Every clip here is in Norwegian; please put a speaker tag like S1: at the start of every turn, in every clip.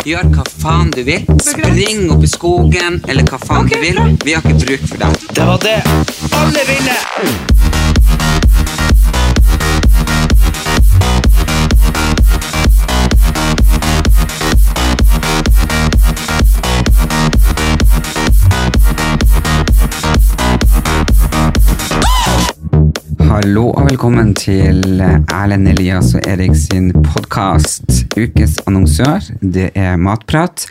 S1: Gjør hva faen du vil. Spring opp i skogen, eller hva faen du vil. Vi har ikke bruk for deg. Det var det. Alle ville! Hallo og velkommen til eh, Erlend Elias og Erik sin podkast. Ukes annonsør, det er Matprat.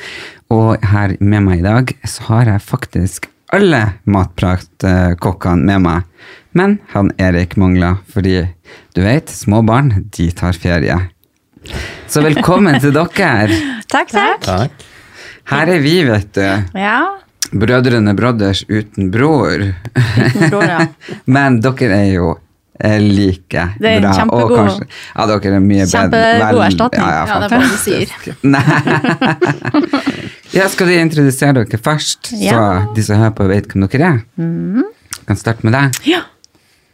S1: Og her med meg i dag så har jeg faktisk alle Matprat-kokkene med meg. Men han Erik mangler, fordi du vet, små barn, de tar ferie. Så velkommen til dere.
S2: Takk, takk.
S1: Her er vi, vet du.
S2: Ja.
S1: Brødrene Brothers uten bror.
S2: Uten bror, ja.
S1: Men dere er jo eh, like
S2: Det er en
S1: bra. og
S2: kjempegod-
S1: kanskje, ja, dere er mye bedre.
S2: Kjempegod
S1: vel-
S2: erstatning.
S1: Ja, ja,
S2: Ja, det er hva du
S1: fantastisk. Nei. ja, skal vi introdusere dere først,
S2: Ja.
S1: så de som hører på, vet hvem dere er? Kan starte med deg.
S2: Mhm.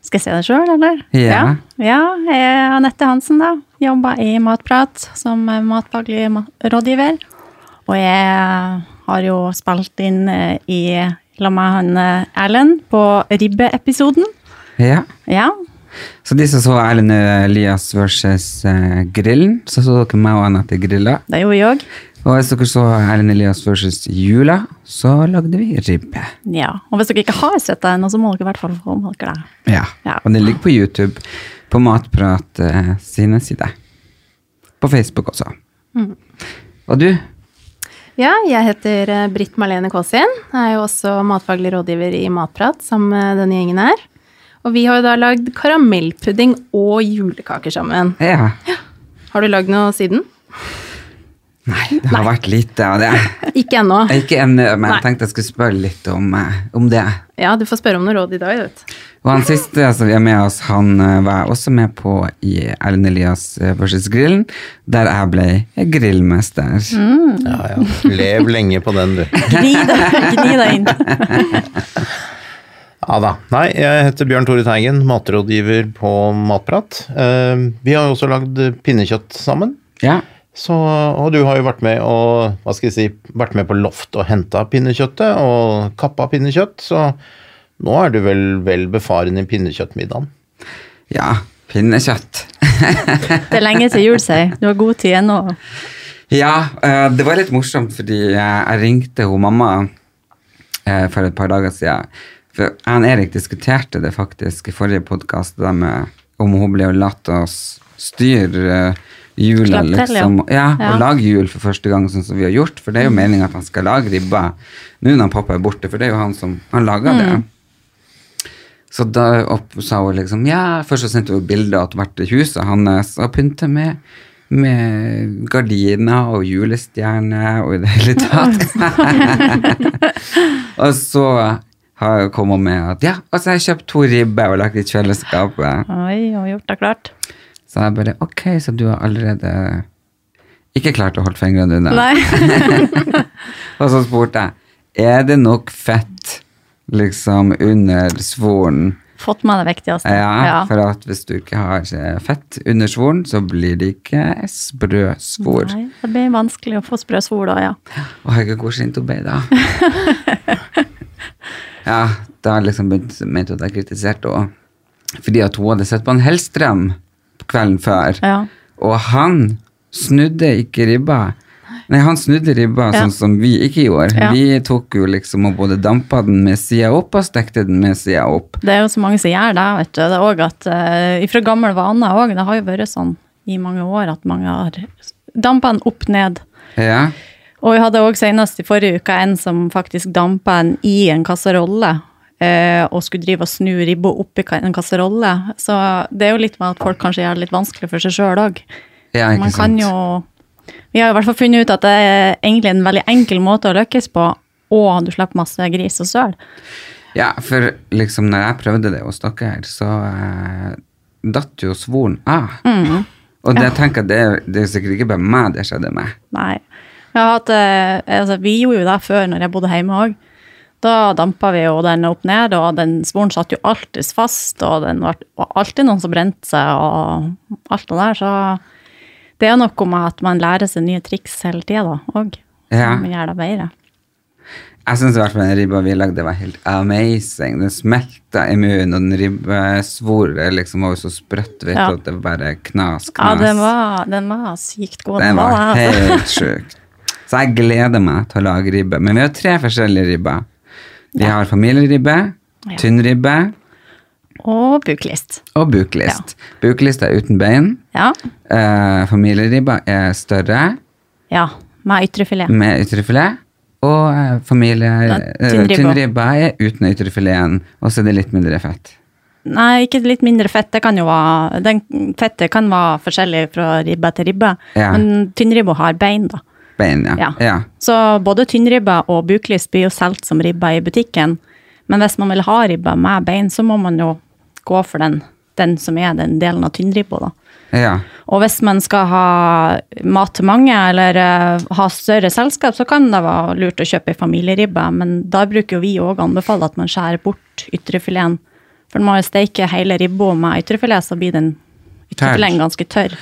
S2: Skal jeg se det sjøl, eller?
S1: Ja.
S2: ja. ja. eh, Anette Hansen, da. Jobber i Matprat som eh, matfaglig ma- rådgiver. Og jeg har jo spilt inn eh, i La meg han eh, Erlend på Ribbe-episoden.
S1: Ja.
S2: Ja.
S1: Så de som så Erlend Elias versus eh, Grillen, så så dere meg og Anette grilla.
S2: Det gjorde jeg òg.
S1: Og hvis dere så Erlend Elias versus Jula, så lagde vi ribbe.
S2: Ja. Og hvis dere ikke har sett det ennå, så må dere i hvert fall få med dere det.
S1: Ja.
S2: Ja.
S1: Og det ligger på YouTube, på Matprat eh, sine sider. På Facebook også.
S2: Mm.
S1: Og du?
S3: Ja, jeg heter eh, Britt Marlene Kåsin. Jeg er jo også matfaglig rådgiver i Matprat sammen med denne gjengen her. Og vi har jo da lagd karamellpudding og julekaker sammen.
S1: Ja.
S3: Har du lagd noe siden?
S1: Nei, det har vært lite av det.
S3: Ikke ennå.
S1: Ikke ennå, men
S3: Nei.
S1: jeg tenkte jeg skulle spørre litt om, eh, om det.
S3: Ja, du får spørre om noe råd i dag, vet du.
S1: Og han siste som vi har med oss, han eh, var jeg også med på i Erlend Elias eh, versus Grillen, der jeg ble grillmester.
S4: Ja, ja.
S2: Mm.
S4: Lev lenge på den, du.
S2: Gni deg- Gni deg inn.
S4: Ja da. Nei, jeg heter Bjørn Tore Teigen, matrådgiver på Matprat. Eh, Vi har jo også lagd pinnekjøtt sammen.
S1: Ja.
S4: Så, og du har jo vært med, og, hva skal jeg si, vært med på loft og henta pinnekjøttet og kappa pinnekjøtt, så nå er du vel vel befaren i pinnekjøttmiddagen.
S1: ja. Pinnekjøtt.
S2: Det er lenge til jul, sier jeg. Du har god tid ennå.
S1: Ja, eh, det var litt morsomt, fordi eh, jeg ringte hun mamma eh, for et par dager siden. For jeg og Erik diskuterte det faktisk i forrige podkast, om hun ble å latt oss styre eh, jula,
S2: Slapp til, ja.
S1: liksom. Ja, og
S2: Ja.
S1: lage jul for første gang, sånn som vi har gjort. For det er jo meninga at han skal lage ribba nå når pappa er borte, for det er jo han som han lager det. Så da opp, sa hun liksom Ja, først så sendte hun bilder av hvert huset hans og pynta med, med gardiner og julestjerne og i det hele tatt. og så har jeg kommet med at ja, altså jeg har kjøpt to ribber og lagt i kjøleskapet.
S2: Oi, og gjort det klart.
S1: Så jeg bare ok, så du har allerede ikke klart å holde fingrene unna.
S2: Nei.
S1: Og så spurte jeg er det nok fett liksom under svoren.
S2: Fått med det viktigste.
S1: Ja, for at hvis du ikke har eh, fett under svoren, så blir det ikke sprø svor.
S2: Nei, det blir vanskelig å få sprø sol da, ja.
S1: Å, herregud, hvor sint hun ble da. ja, da liksom begynte mente hun at jeg kritiserte henne. Fordi at hun hadde sett på en Hellstrøm kvelden før.
S2: Ja.
S1: Og han snudde ikke ribba. Nei, han snudde ribba
S2: Ja.
S1: sånn som vi ikke gjorde.
S2: Ja.
S1: Vi tok jo liksom og både dampa den med sida opp og stekte den med sida opp.
S2: Det er jo så mange som gjør det, vet du. Det er også at, eh, ifra gammel vane òg, det har jo vært sånn i mange år at mange har dampa den opp ned.
S1: Ja,
S2: Og vi hadde òg senest i forrige uke en som faktisk dampa en i en kasserolle. eh, Og skulle drive og snu ribba oppi ka- en kasserolle. Så det er jo litt med at folk kanskje gjør det litt vanskelig for seg sjøl òg.
S1: ja ikke
S2: Man
S1: sant.
S2: kan jo Vi har i hvert fall funnet ut at det er egentlig en veldig enkel måte å lykkes på, og du slipper masse gris og søl.
S1: Ja, for liksom når jeg prøvde det hos dere, så eh, datt jo svoren av.
S2: Mm.
S1: Og det, jeg tenker at det, er- det er sikkert ikke bare meg det skjedde med.
S2: Nei. Jeg har hatt, eh, altså, vi gjorde jo det før når jeg bodde hjemme òg. Da dampa vi jo den opp ned, og den svoren satt jo alltids fast. Og det var og alltid noen som brente seg, og alt det der. Så det er noe med at man lærer seg nye triks hele tida òg,
S1: Ja.
S2: som gjør det bedre.
S1: Jeg syns i hvert fall den ribba vi lagde, var helt amazing. Den smelta i munnen, og den ribbesvoret liksom var jo så sprøtt, vet du,
S2: Ja.
S1: at det bare knas,
S2: Ja,
S1: knas.
S2: den var, den var sykt god.
S1: Den var
S2: det, altså.
S1: helt sjuk. Så jeg gleder meg til å lage ribbe. Men vi har tre forskjellige ribber. Vi har familieribbe,
S2: Ja.
S1: tynnribbe
S2: Og buklist.
S1: og buklist. Buklist er uten bein.
S2: Ja.
S1: Eh, familieribba er større,
S2: ja. Med ytrefilet.
S1: med ytrefilet. Og eh, familie...
S2: Ja,
S1: eh,
S2: tynnribba.
S1: Tynnribba er uten ytrefileten, og så er det litt mindre fett.
S2: Nei, ikke litt mindre fett. Det kan jo være, den fettet kan være forskjellig fra ribbe til ribbe.
S1: Ja.
S2: Men tynnribba har bein, da.
S1: Bein, ja.
S2: Ja. Så både tynnribba og buklyst blir jo solgt som ribba i butikken. Men hvis man vil ha ribba med bein, så må man jo gå for den, den som er den delen av tynnribba, da.
S1: ja. ja.
S2: Og hvis man skal ha mat til mange, eller eh, ha større selskap, så kan det være lurt å kjøpe familieribbe, men da bruker jo vi òg anbefale at man skjærer bort ytrefileten. For når man steiker hele ribba med ytrefilet, så blir den ytrefileten ganske tørr.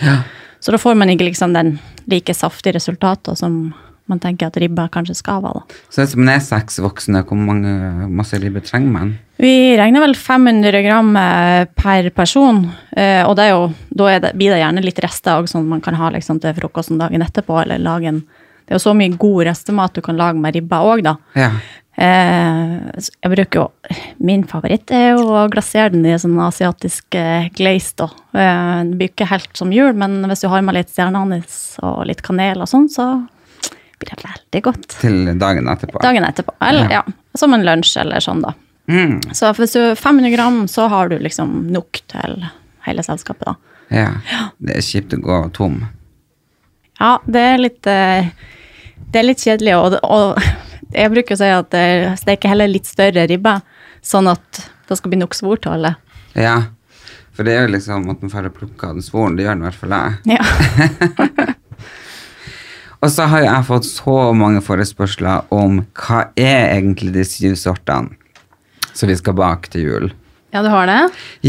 S2: Så da får man ikke liksom den like saftige resultatet som man tenker at ribba kanskje skal være. da.
S1: Så hvis man er seks voksne, hvor mange masse ribbe trenger man?
S2: Vi regner vel 500 gram eh, per person, eh, og det er jo, da er det, blir det gjerne litt rester også, sånn at man kan ha liksom, til frokosten dagen etterpå. eller lage en, Det er jo så mye god restemat du kan lage med ribba òg, da.
S1: Ja.
S2: Eh, så jeg bruker jo, Min favoritt er jo å glasere den i sånn asiatisk eh, glaze. da. Eh, det blir ikke helt som jul, men hvis du har med litt stjerneanis og litt kanel, og sånn, så blir det veldig godt.
S1: Til dagen etterpå.
S2: Dagen etterpå. Eller, ja. Som en lunsj eller sånn, da.
S1: Mm.
S2: Så hvis du 500 gram, så har du liksom nok til hele selskapet, da.
S1: Ja. Det er kjipt å gå tom.
S2: Ja, det er litt eh, Det er litt kjedelig, og, og jeg bruker å si at eh, jeg steker heller litt større ribbe, sånn at det skal bli nok svor til alle.
S1: Ja. For det er jo liksom at man får plukke av den svoren. Det gjør den i hvert fall jeg.
S2: Ja.
S1: Og så har jo jeg fått så mange forespørsler om hva er egentlig de syv sortene som vi skal bake til jul.
S3: Ja, du har det?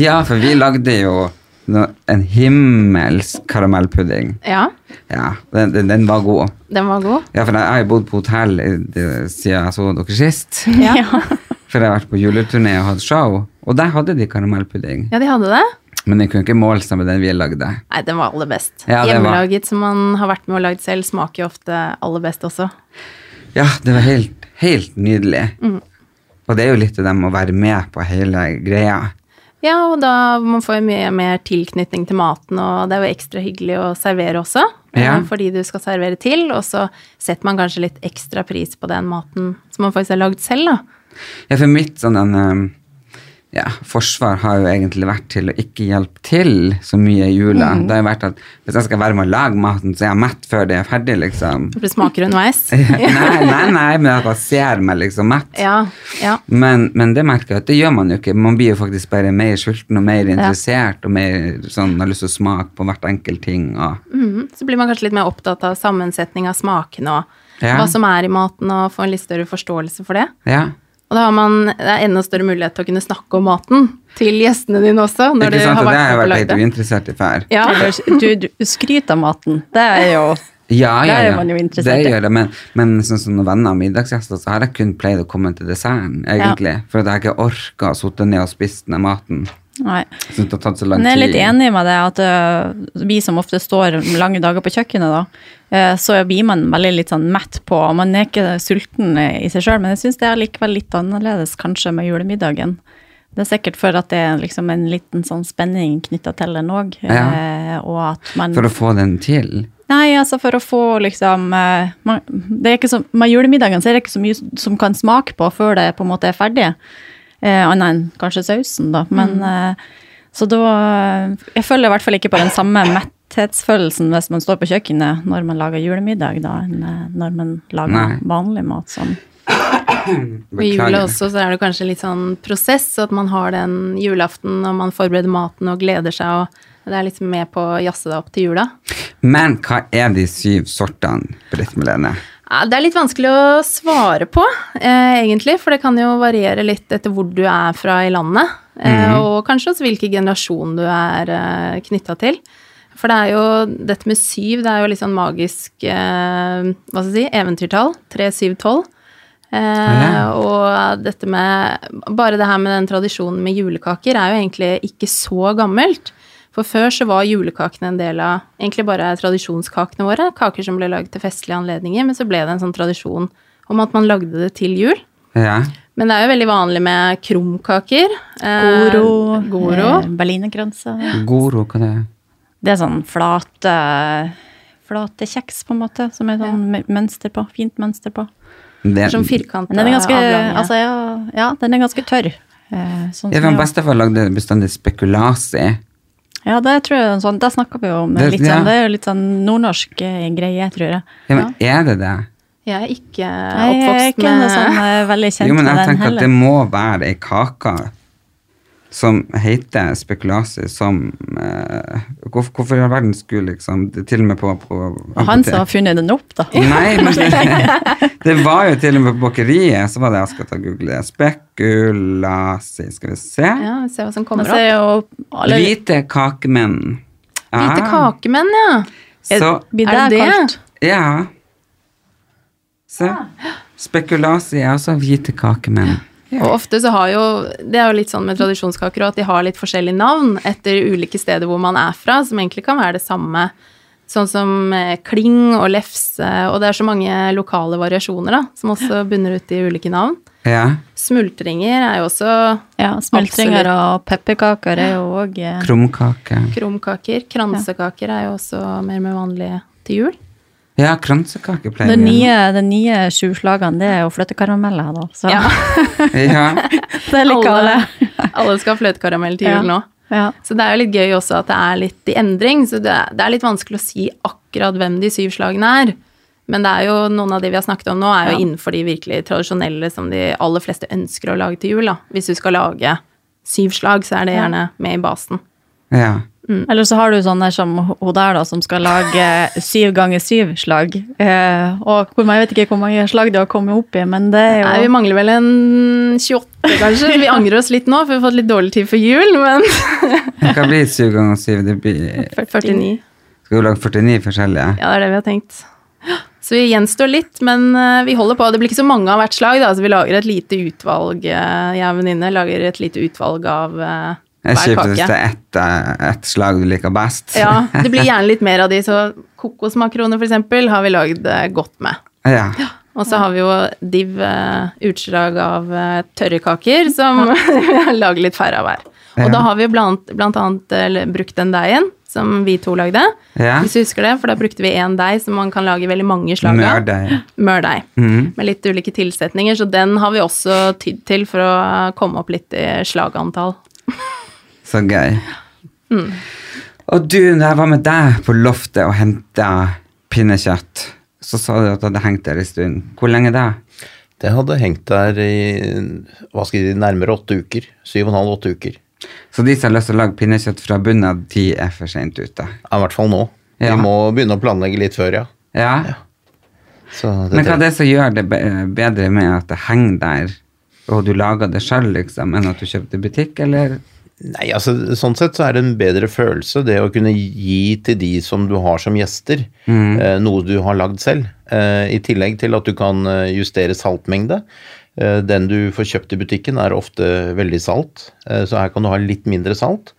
S1: Ja, for vi lagde jo no- en himmelsk karamellpudding.
S3: Ja.
S1: Ja, den, den, den var god.
S3: Den var god.
S1: Ja, for jeg har jo bodd på hotell i- det- siden jeg så dere sist.
S3: Ja.
S1: For jeg har vært på juleturné og hatt show, og der hadde de karamellpudding.
S3: ja, de hadde det.
S1: Men de kunne ikke måle seg med den vi lagde.
S3: Nei, den var aller best.
S1: Ja, den var-
S3: Hjemmelaget som man har vært med og lagd selv, smaker jo ofte aller best også.
S1: Ja, det var helt, helt nydelig.
S3: Mm.
S1: Og det er jo litt av dem å være med på hele greia.
S3: Ja, og da man får jo mye mer tilknytning til maten, og det er jo ekstra hyggelig å servere også,
S1: Ja.
S3: eh, for de du skal servere til, og så setter man kanskje litt ekstra pris på den maten som man faktisk har lagd selv, da.
S1: Ja, for mitt sånn en, um, ja, forsvar har jo egentlig vært til å ikke hjelpe til så mye i jula.
S3: Mhm.
S1: Det har jo vært at hvis jeg skal være med å lage maten, så er jeg mett før det er ferdig, liksom.
S3: For det smaker underveis.
S1: nei, nei, nei, men at jeg ser meg liksom mett.
S3: Ja, ja.
S1: Men, men det merker jeg at det gjør man jo ikke. Man blir jo faktisk bare mer sulten og mer interessert og mer sånn har lyst til å smake på hvert enkelt ting. Og,
S3: Mhm. Så blir man kanskje litt mer opptatt av sammensetning av smakene og
S1: Ja.
S3: hva som er i maten, og får en litt større forståelse for det.
S1: ja.
S3: Og da har man det er enda større mulighet til å kunne snakke om maten til gjestene dine også, når du
S1: Ikke sant? Og det har
S3: har vært med
S1: jeg
S3: på
S1: vært
S3: laget.
S1: helt uinteressert i før.
S3: Ja.
S2: Eller, du, du skryter av maten. Det er jo
S1: Ja,
S2: Der
S1: ja,
S2: er
S1: ja.
S2: man jo interessert,
S1: Det
S2: ja.
S1: gjør det, men, men sånn som noen venner og middagsgjester, så har jeg kun pleid å komme til desserten, egentlig. For at jeg ikke orka å sitte ned og spise den maten.
S2: Nei.
S1: Synes det har tatt så lang
S2: Men jeg er litt
S1: tid.
S2: enig med deg at ø, vi som ofte står lange dager på kjøkkenet, da, eh, så blir man veldig litt sånn mett på, og man er ikke sulten i seg sjøl, men jeg syns det er likevel litt annerledes kanskje med julemiddagen. Det er sikkert for at det er liksom en liten sånn spenning knytta til den òg,
S1: Ja.
S2: og at man
S1: For å få den til.
S2: Nei, altså for å få liksom eh, man, det er ikke så, Med julemiddagen så er det ikke så mye som kan smake på før det på en måte er ferdig. Eh, Annet enn eh, kanskje sausen, da. Men eh, Så da Jeg føler i hvert fall ikke på den samme mettheten metthetsfølelsen hvis man står på kjøkkenet når man lager julemiddag, da, enn eh, når man lager
S1: Nei.
S2: vanlig mat. Sånn.
S3: Med jula
S1: Beklager.
S3: også så er det kanskje litt sånn prosess, at man har den julaften og man forbereder maten og gleder seg, og det er litt med på å jazze deg opp til jula.
S1: Men hva er de syv sortene, Britt Melene?
S3: Ja, Det er litt vanskelig å svare på, eh, egentlig, for det kan jo variere litt etter hvor du er fra i landet, eh, og kanskje også hvilken generasjon du er eh, knytta til. For det er jo dette med syv, det er jo litt sånn magisk eh, hva skal jeg si, eventyrtall. Tre, syv, tolv. Eh,
S1: Ja.
S3: og dette med Bare det her med den tradisjonen med julekaker er jo egentlig ikke så gammelt. For før så var julekakene en del av egentlig bare tradisjonskakene våre. Kaker som ble lagd til festlige anledninger, men så ble det en sånn tradisjon om at man lagde det til jul.
S1: Ja.
S3: Men det er jo veldig vanlig med krumkaker. eh,
S2: Goro,
S3: Goro.
S2: eh, berlinerkranse.
S1: Goro, hva det er?
S2: Det er sånn flate, flate kjeks, på en måte, som er sånn mønster på. Fint mønster på.
S1: det?
S3: Sånn firkanta
S2: Men den er ganske,
S3: avlange.
S2: altså, ja, ja, den er ganske tørr. eh, Sånn
S1: Jeg
S2: som
S1: vet
S2: jeg-
S1: bestefar lagde bestandig spekulasi.
S2: ja, det tror jeg er en sånn, det snakker vi jo om.
S1: Det-
S2: litt
S1: ja.
S2: sånn, det er jo litt sånn nordnorsk eh, greie, tror jeg.
S1: Ja, men er det det?
S3: Jeg er ikke
S2: Jeg er
S3: oppvokst
S2: ikke noe
S3: med
S2: sånn eh, veldig kjent
S1: Jo, men jeg
S2: med den
S1: tenker at
S2: heller.
S1: det må være ei kake som heter spekulasi, som eh, hvorf- Hvorfor i all verden skulle liksom det- Til og med på, på
S2: Han som har funnet den opp, da.
S1: Nei, men det, det var jo til og med på bakeriet, så var det jeg skal ta og google det. Spekulasi, skal vi se.
S3: Ja, vi ser hva som
S2: Men
S3: kommer
S2: så er
S3: opp.
S2: jo alle
S1: Hvite kakemenn.
S3: Hvite
S1: Ah,
S3: kakemenn, ja.
S1: Så,
S2: Blir
S3: Er det
S2: det
S3: det?
S2: kalt?
S1: ja. Se.
S3: Ah.
S1: Spekulasi er også hvite kakemenn.
S3: Og ofte så har jo Det er jo litt sånn med tradisjonskaker også, at de har litt forskjellige navn etter ulike steder hvor man er fra, som egentlig kan være det samme. Sånn som eh, kling og lefse, og det er så mange lokale variasjoner da, som også bunner ut i ulike navn.
S1: Ja.
S3: Smultringer er jo også
S2: Ja, smultringer og pepperkaker er jo eh, òg
S1: Krumkake.
S3: krumkaker. Kransekaker er jo også mer med vanlige til jul.
S1: Ja, kransekake pleier
S2: Den
S1: vi.
S2: nye, de nye sju slagene, det er jo fløtekarameller, da. Så
S3: Ja,
S1: Ja.
S2: det er like alle.
S3: alle skal ha fløtekaramell til
S2: Ja.
S3: jul nå.
S2: Ja.
S3: Så det er jo litt gøy også at det er litt i endring. Så det er, det er litt vanskelig å si akkurat hvem de syv slagene er. Men det er jo noen av de vi har snakket om nå, er jo
S2: Ja.
S3: innenfor de virkelig tradisjonelle som de aller fleste ønsker å lage til jul. da. Hvis du skal lage syv slag, så er det gjerne med i basen.
S1: ja.
S2: Mm. Eller så har du sånne som hun der, da, som skal lage syv ganger syv slag. Eh, og hvor, jeg vet ikke hvor mange slag de har kommet opp i, men det er jo
S3: Nei, vi mangler vel en 28, kanskje. Vi angrer oss litt nå, for vi har fått litt dårlig tid for jul, men
S1: Hva blir syv ganger syv? Det blir
S3: 49.
S1: Skal du lage 49 forskjellige?
S3: Ja, det er det vi har tenkt. Så vi gjenstår litt, men eh, vi holder på. Det blir ikke så mange av hvert slag, da, så vi lager et lite utvalg. eh, Jeg og venninne lager et lite utvalg av eh,
S1: Det er
S3: hver
S1: kjipt hvis det
S3: kake.
S1: er ett eh, ett slag du liker best.
S3: Ja, det blir gjerne litt mer av de, så kokosmakroner for eksempel har vi lagd eh, godt med.
S1: Ja.
S3: Og så har vi jo div eh, utslag av eh, tørre kaker, som vi har laget litt færre av hver.
S1: Ja.
S3: Og da har vi jo blant, blant annet eh, brukt den deigen som vi to lagde,
S1: Ja.
S3: hvis du husker det, for da brukte vi én deig som man kan lage veldig mange slag av.
S1: Mørdeig.
S3: mørdeig.
S1: Mhm.
S3: Med litt ulike tilsetninger, så den har vi også tydd til for å komme opp litt i slagantall.
S1: Så gøy.
S3: Mm.
S1: Og du, når jeg var med deg på loftet og henta pinnekjøtt, så sa du at det hadde hengt der en stund. Hvor lenge da?
S4: Det hadde hengt der i hva skal jeg si, nærmere åtte uker. Syv og en halv, åtte uker.
S1: Så de som har lyst til å lage pinnekjøtt fra bunnen av, de er for seint ute.
S4: Ja, I hvert fall nå.
S1: Ja.
S4: Vi må begynne å planlegge litt før, ja.
S1: Ja.
S4: Så det,
S1: Men hva er det som gjør det be- bedre med at det henger der, og du lager det sjøl, liksom, enn at du kjøpte i butikk, eller?
S4: Nei, altså Sånn sett så er det en bedre følelse, det å kunne gi til de som du har som gjester, eh, noe du har lagd selv. Eh, I tillegg til at du kan eh, justere saltmengde. Eh, den du får kjøpt i butikken er ofte veldig salt, eh, så her kan du ha litt mindre salt.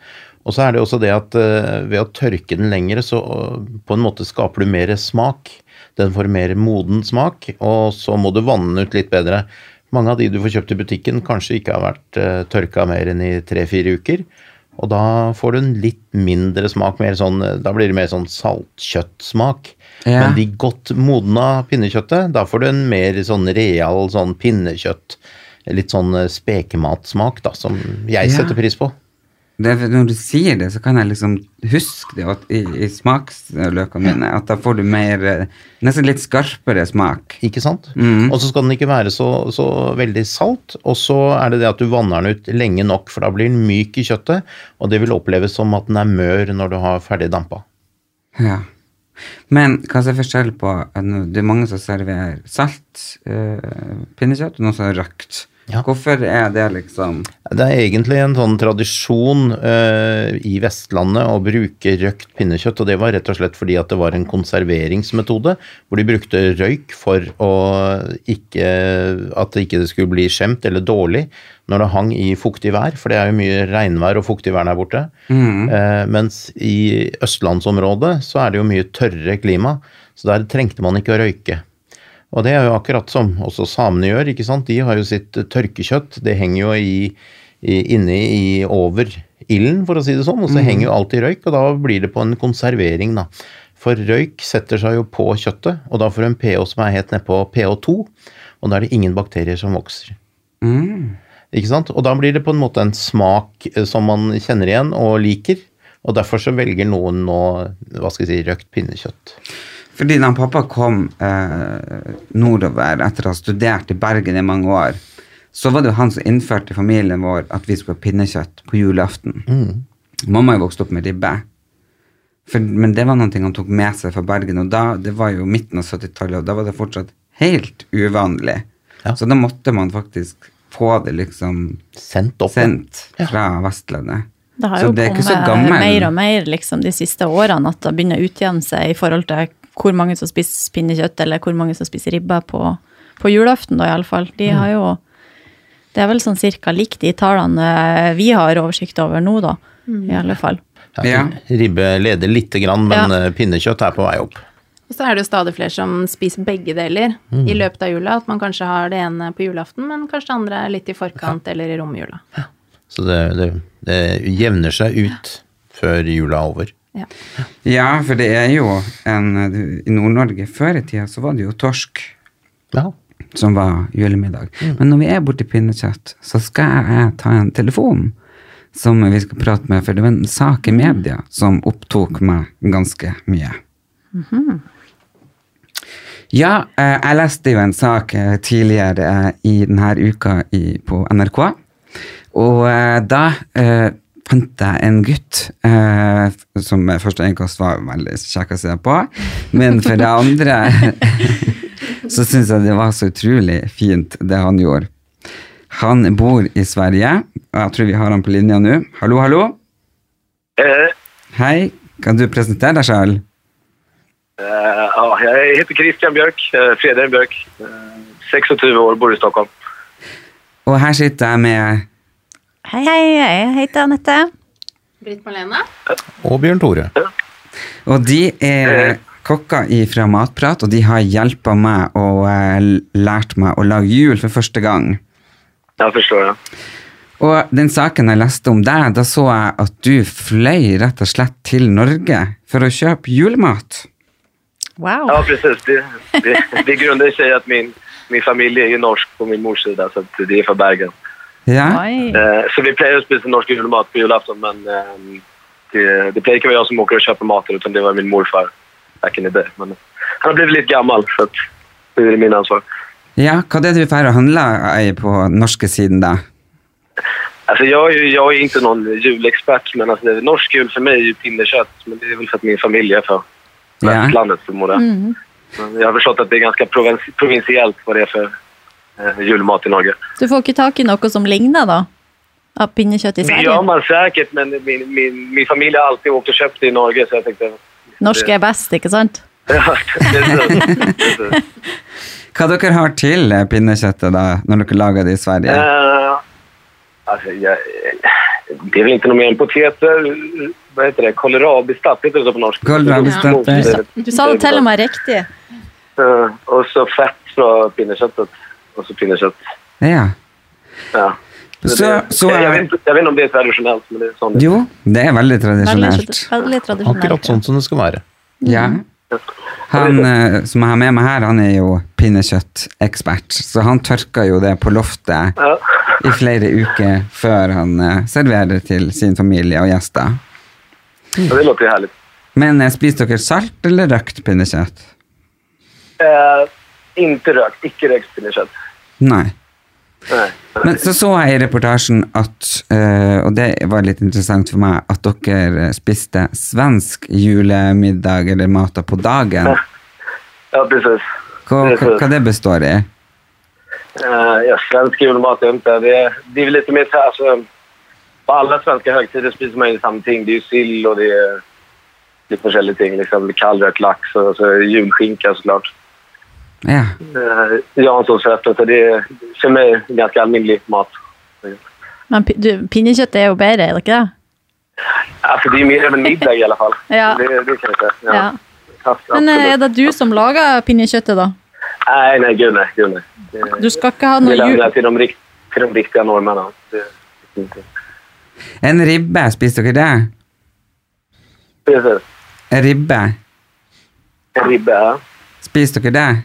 S4: Og så er det også det at eh, ved å tørke den lengre, så eh, på en måte skaper du mer smak. Den får mer moden smak, og så må du vanne den ut litt bedre. Mange av de du får kjøpt i butikken, kanskje ikke har vært eh, tørka mer enn i tre-fire uker. Og da får du en litt mindre smak, mer sånn, eh, da blir det mer sånn saltkjøttsmak.
S1: Ja.
S4: Men de godt modna pinnekjøttet, da får du en mer sånn real sånn pinnekjøtt. Litt sånn eh, spekematsmak, da, som jeg setter pris på.
S1: Det, er for når du sier det, så kan jeg liksom huske det at i, i smaksløkene mine. At da får du mer eh, Nesten litt skarpere smak.
S4: Ikke sant?
S1: Mm.
S4: Og så skal den ikke være så, så veldig salt. Og så er det det at du vanner den ut lenge nok, for da blir den myk i kjøttet. Og det vil oppleves som at den er mør når du har ferdig dampa.
S1: Ja. Men hva som er forskjellen på at nå- Det er mange som serverer salt eh, pinnekjøtt, og noen som har røkt.
S4: Ja.
S1: Hvorfor er det liksom
S4: Det er egentlig en sånn tradisjon eh, i Vestlandet å bruke røkt pinnekjøtt, og det var rett og slett fordi at det var en konserveringsmetode hvor de brukte røyk for å ikke, at det ikke skulle bli skjemt eller dårlig når det hang i fuktig vær, for det er jo mye regnvær og fuktig vær der borte.
S1: Mm.
S4: Eh, mens i østlandsområdet så er det jo mye tørrere klima, så der trengte man ikke å røyke. Og det er jo akkurat som også samene gjør. ikke sant? De har jo sitt eh, tørkekjøtt. Det henger jo i, i, inni i over ilden, for å si det sånn. Og så henger jo alltid røyk, og da blir det på en konservering, da. For røyk setter seg jo på kjøttet, og da får du en pH som er helt nedpå pH2. Og da er det ingen bakterier som vokser. Ikke sant? Og da blir det på en måte en smak eh, som man kjenner igjen og liker. Og derfor så velger noen nå hva skal jeg si, røkt pinnekjøtt.
S1: Fordi da pappa kom eh, nordover etter å ha studert i Bergen i mange år, så var det jo han som innførte i familien vår at vi skulle ha pinnekjøtt på julaften.
S4: Mm.
S1: Mamma er vokst opp med ribbe. For, men det var noen ting han tok med seg fra Bergen, og da, det var jo midten av 70-tallet, og da var det fortsatt helt uvanlig.
S4: Ja.
S1: Så da måtte man faktisk få det liksom
S4: Sendt opp.
S1: sendt fra Vestlandet.
S2: Det har
S1: så
S2: jo
S1: det er ikke så
S2: kommet
S1: gammel.
S2: mer og mer liksom, de siste årene at det begynner å utjevne seg i forhold til hvor mange som spiser pinnekjøtt, eller hvor mange som spiser ribba på, på julaften, da iallfall. De
S1: Mm.
S2: har jo Det er vel sånn cirka likt de tallene vi har oversikt over nå, da. I alle fall.
S1: Ja.
S4: Ribbe leder lite grann, men
S2: Ja.
S4: eh, pinnekjøtt er på vei opp.
S3: Og så er det jo stadig flere som spiser begge deler
S1: Mm.
S3: i løpet av jula. At man kanskje har det ene på julaften, men kanskje det andre er litt i forkant eller i romjula.
S4: Så det, det, det jevner seg ut før jula er over.
S3: Ja.
S1: Ja, for det er jo en I Nord-Norge før i tida så var det jo torsk
S4: Ja.
S1: som var julemiddag. Men når vi er borti pinnekjøtt, så skal jeg ta en telefon som vi skal prate med, for det var en sak i media som opptok meg ganske mye.
S5: Mhm.
S1: Ja, eh, jeg leste jo en sak eh, tidligere eh, i denne uka i, på NRK. Og eh, da eh, fant jeg en gutt eh, som med første øyekast var veldig kjekk å se på, men for det andre så syns jeg det var så utrolig fint, det han gjorde. Han bor i Sverige, og jeg tror vi har han på linja nå. Hallo, hallo.
S6: Eh,
S1: Hei, kan du presentere deg sjøl?
S6: eh, ja, jag heter Christian Björk, eh, Fredrik Björk. Eh, 26 år, bor i Stockholm.
S1: Og her sitter jeg med
S2: Hei, hei, jeg heter Anette.
S3: Britt Marlene?
S4: Og Bjørn Tore.
S1: Og de er kokker fra Matprat, og de har hjulpet meg og eh, lært meg å lage jul for første gang.
S6: Jag förstår. Ja.
S1: Og den saken jeg leste om deg, da så jeg at du fløy rett og slett til Norge for å kjøpe julemat.
S2: Wow.
S6: ja, precis. Det, det, det grundar sig i att min, min familj är ju norsk på min mors sida, så att det är från Bergen.
S1: Ja,
S2: Oi.
S6: Eh, så vi plejer att spisa norsk julmat på julafton, men eh, det, det plejer inte vara jag som åker och köper maten, utan det var min morfar back in the day. Men han har blivit lite gammal, så att, nu är det min ansvar.
S1: ja hva er det du drar og handler eh, på den norske siden, da?
S6: Alltså jag, är ju- jag är inte någon julexpert, men alltså, norsk jul för mig är ju pinnekött. Men det är väl för att min familj är från
S1: Ja.
S6: västlandet, förmodar jag.
S2: Mm.
S6: Men Jag har förstått att det är ganska provins- provinsiellt vad det är för eh, julmat i Norge.
S2: Du får ikke tak i noe som ligner, da? Av pinnekjøtt i
S6: Det gör
S2: Sverige?
S6: man säkert, men min, min, min familj har alltid åkt och köpt det i Norge. Så jag tänkte...
S2: Norsk er best, ikke sant?
S6: Ja, precis, precis.
S1: Hva dere har til eh, pinnekjøttet da, når dere lager det i Sverige?
S6: Eh, alltså, jag, det är väl inte något mer än poteter, vad heter det, kohlrabistapp, heter det så på norska?
S1: Kålrabistapp, ja.
S2: Du sa det til og med riktig.
S6: Ja, og Eh, så fett fra pinnekjøttet. Og så pinnekjøtt.
S1: Ja.
S6: Ja.
S1: Så- så er-
S6: jeg, vet, ikke- jeg vet ikke om det er tradisjonelt, men det er sånn.
S1: Jo, det er veldig
S2: Veldig,
S1: tradisjonelt.
S2: veldig tradisjonelt.
S4: Akkurat sånn som det skal være.
S1: Ja. Han eh, som jeg har med meg her, han er jo pinnekjøttekspert, så han tørker jo det på loftet
S6: Ja.
S1: i flere uker før han eh, serverer til sin familie og gjester.
S6: Så det låter ju härligt.
S1: Men eh, spiser dere salt eller røkt pinnekjøtt?
S6: Eh, inte rökt, icke rökt pinnekött.
S1: Nei.
S6: Nej.
S1: Men så så jeg i reportasjen at, eh, og det var litt interessant for meg, at dere eh, spiste svensk julemiddag eller mat på dagen.
S6: Ja, precis.
S1: Hva, hva, hva det består i?
S6: Eh, ja, svensk julmat är inte... Det är, det är väl lite mer så här... Alltså, på alla svenska högtider spiser man ju samma ting. Det är ju sill och det är lite olika ting. Liksom, kallrökt lax och så är det julskinka såklart.
S1: Ja.
S6: Eh, Janssonsrätter, så det är för mig ganska allmänlig mat.
S2: Men pi- du, pinnekjøtt er jo bedre, er det ikke det?
S6: Alltså det är mer av en middag i alla fall.
S2: Ja.
S6: Det, det kan jag säga. Ja.
S2: Ja.
S6: Abs-
S2: Men eh,
S6: absolut.
S2: er det du som lager pinnekjøttet, da?
S6: Nej, nej, gud nej. Gud, nej. Det-
S2: Du skal ikke ha
S6: Det
S2: noe jul...
S6: lämnar jag till de, rikt- till de riktiga norrmännen. Det- inte.
S1: En ribbe, spiste dere det?
S6: Precis.
S1: En ribbe,
S6: En ribbe. ja.
S1: spiste dere det?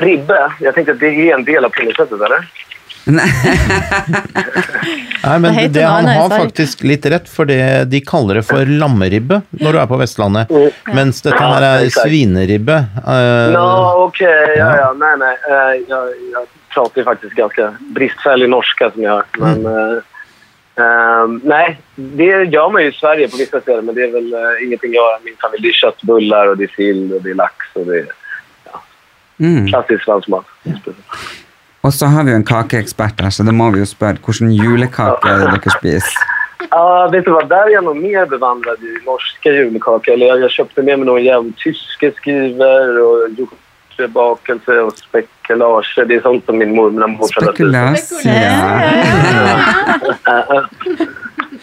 S6: Ribbe? Jeg tenkte at det er en del av pinnekjøttet, eller?
S4: Nei, men
S6: Det
S4: det,
S6: heter noe
S4: han
S6: annet,
S4: har
S6: sorry.
S4: faktisk litt rett, for det de kaller det for lammeribbe når du er på Vestlandet. Mens dette her
S6: Ja,
S4: er
S6: exakt.
S4: svineribbe. eh,
S6: Ja, okej. Ja, ja. Nej, nej. Eh, Jag, jag pratar ju faktiskt ganska bristfällig norska som jag har. Men, eh, ehm, nej, det gör man ju i Sverige på vissa ställen, men det är väl eh, ingenting jag har i min familj. Det är köttbullar och det är sill och det är lax och det är
S1: Mm.
S6: klassisk svensk mat.
S1: Og så har vi jo en kakeekspert her, så da må vi jo spørre hvilken julekake er det dere spiser.
S6: Ja, vet du vad? Där är jag nog mer bevandrad i norska julkakor. Eller jag, jag köpte med mig någon jävla tyske skriver og hjortbakelse och spekulage. Det är sånt som min mormor och morfar lät ut.
S1: Spekulasia.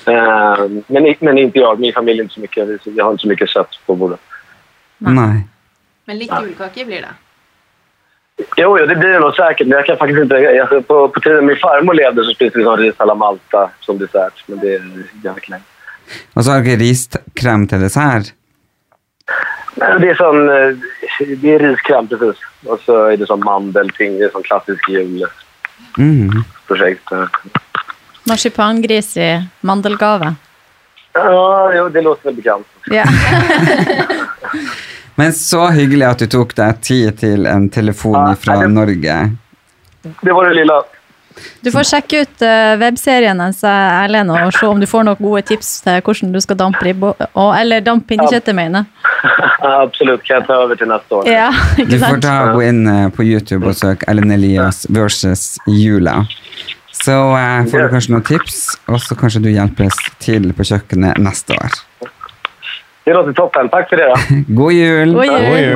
S6: Eh, men, men inte jag. Min familj är inte så mycket. Jag har inte så mycket kött på bordet.
S1: Nei.
S3: Men litt julekake blir det.
S6: Jo, jo, det blir det nog säkert. Men jag kan faktiskt inte... Jag, på, på tiden min farmor levde så spiste vi sån ris à la Malta som dessert. Men det är ganska länge.
S1: Og så har dere riskrem til dessert.
S6: Men Det är sån... eh, Det är riskräm precis. Och så är det sån mandelting. Det är sån klassisk julprojekt.
S1: Mm.
S2: Marsipangris i mandelgave.
S6: Ja, jo, det låter väl bekant.
S2: Ja.
S1: Men så hyggelig at du tok deg tid til en telefon fra Norge.
S6: Det var det lilla.
S2: Du får sjekke ut eh, webserien hans, eh, Erlend, og se om du får noen gode tips til hvordan du skal dampe ribbo... og- Eller dampe pinnekjøttet, mener jeg.
S6: Absolut, kan jag ta över till nästa år?
S2: Ja,
S1: Du
S2: ikke
S1: får
S2: sant?
S1: ta gå inn eh, på YouTube og søke Ellen Elias versus jula. Så eh, får du kanskje noen tips, og så kanskje du hjelpes til på kjøkkenet neste år.
S6: Det låter toppen. Tack för det då.
S1: God jul!
S6: God jul,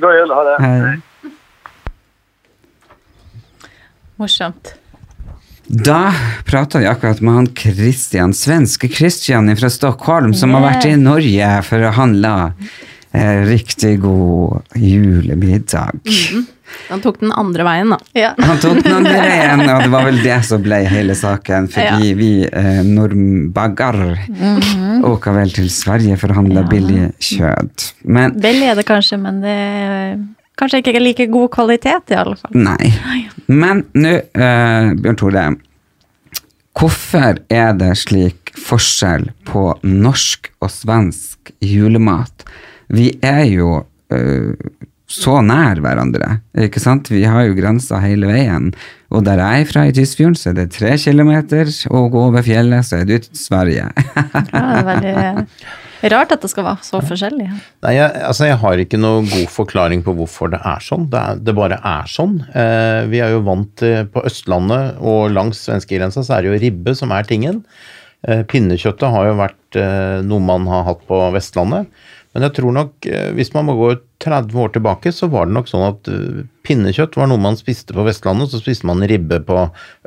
S6: god jul. Ha det.
S1: Hei.
S2: Morsomt.
S1: Da prata vi akkurat med han Christian, svenske Christian fra Stockholm, som har vært i
S2: Yes.
S1: Norge for å handle. Eh, riktig god julemiddag.
S3: Han Mm-hmm. tok den andre veien, da.
S1: Han tok den andre veien, og det var vel det som ble hele saken. Fordi vi eh, nordbagger
S2: Mm. Mhm.
S1: åker vel til Sverige for å handle billig kjøtt. Men
S2: Billig er det kanskje, men det er kanskje ikke like god kvalitet, i alle fall.
S1: nei. Men nå, eh, Bjørn Tore. Hvorfor er det slik forskjell på norsk og svensk julemat? Vi er jo eh, så nær hverandre, ikke sant? Vi har jo grensa hele veien. Og der jeg er fra i Tysfjorden, så er det tre kilometer, og gå over fjellet, så er det ut til Sverige.
S2: Ja, det er veldig rart at det skal være så forskjellig.
S4: Nei, jeg, altså jeg har ikke noe god forklaring på hvorfor det er sånn. Det, er, det bare er sånn. Eh, vi er jo vant til på Østlandet og langs svenskegrensa så er det jo ribbe som er tingen. Eh, pinnekjøttet har jo vært eh, noe man har hatt på Vestlandet. Men jeg tror nok, eh, hvis man må gå 30 år tilbake, så var det nok sånn at eh, pinnekjøtt var noe man spiste på Vestlandet, så spiste man ribbe på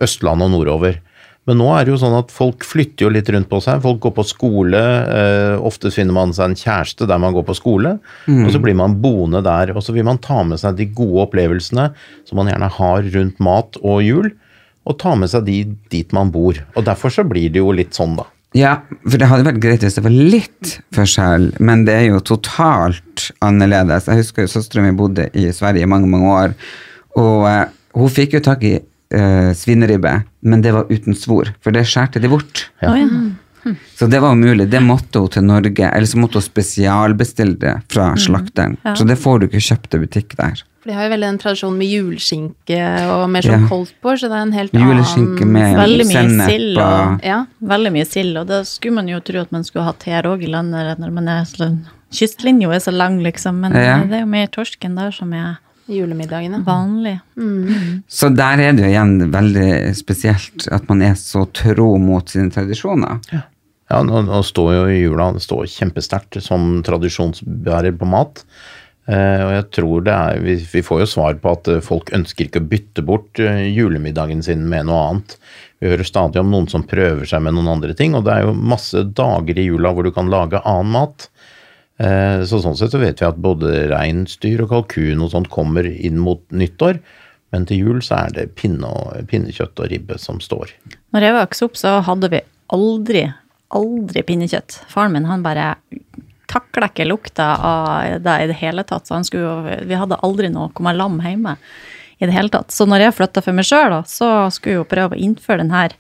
S4: Østlandet og nordover. Men nå er det jo sånn at folk flytter jo litt rundt på seg. Folk går på skole. Eh, ofte finner man seg en kjæreste der man går på skole.
S1: Mm.
S4: Og så blir man boende der. Og så vil man ta med seg de gode opplevelsene som man gjerne har rundt mat og jul, og ta med seg de dit man bor. Og derfor så blir det jo litt sånn, da.
S1: Ja, for det hadde vært greit hvis det var litt forskjell, men det er jo totalt annerledes. Jeg husker jo søsteren min bodde i Sverige i mange, mange år, og eh, hun fikk jo tak i eh, svineribbe, men det var uten svor, for det skjærte de bort.
S2: Å, ja. Hm.
S1: Så det var umulig. Det måtte hun til Norge, eller så måtte hun spesialbestille det fra slakteren.
S3: Ja.
S1: Så det får du ikke kjøpt i butikk der.
S3: For de har jo veldig den tradisjonen med juleskinke og mer sånn
S1: Ja.
S3: koldtbord, så det er en helt
S1: Juleskinke
S3: annen
S1: med
S2: Veldig mye
S1: sennep
S2: sild
S1: og
S2: og, veldig mye sild, og det skulle man jo tro at man skulle hatt her òg i landet, når man er så, kystlinja er så lang, liksom, men
S1: Ja.
S2: eh, det er jo mer torsken der som er
S3: julemiddagene.
S2: vanlig. Mm.
S1: Så der er det jo igjen veldig spesielt at man er så tro mot sine tradisjoner.
S4: Ja, nå, nå står jo jula den står kjempesterkt som tradisjonsbærer på mat. Eh, og jeg tror det er, vi, vi får jo svar på at eh, folk ønsker ikke å bytte bort eh, julemiddagen sin med noe annet. Vi hører stadig om noen som prøver seg med noen andre ting, og det er jo masse dager i jula hvor du kan lage annen mat. Eh, Så sånn sett så vet vi at både reinsdyr og kalkun og sånt kommer inn mot nyttår, men til jul så er det pinne og, pinnekjøtt og ribbe som står.
S2: Når jeg vokste opp, så hadde vi aldri, aldri pinnekjøtt. Faren min han bare takla ikke lukta av det i det hele tatt. Så han skulle, jo- vi hadde aldri noe om lam hjemme i det hele tatt. Så når jeg flytta for meg sjøl, da, så skulle jeg jo prøve å innføre den her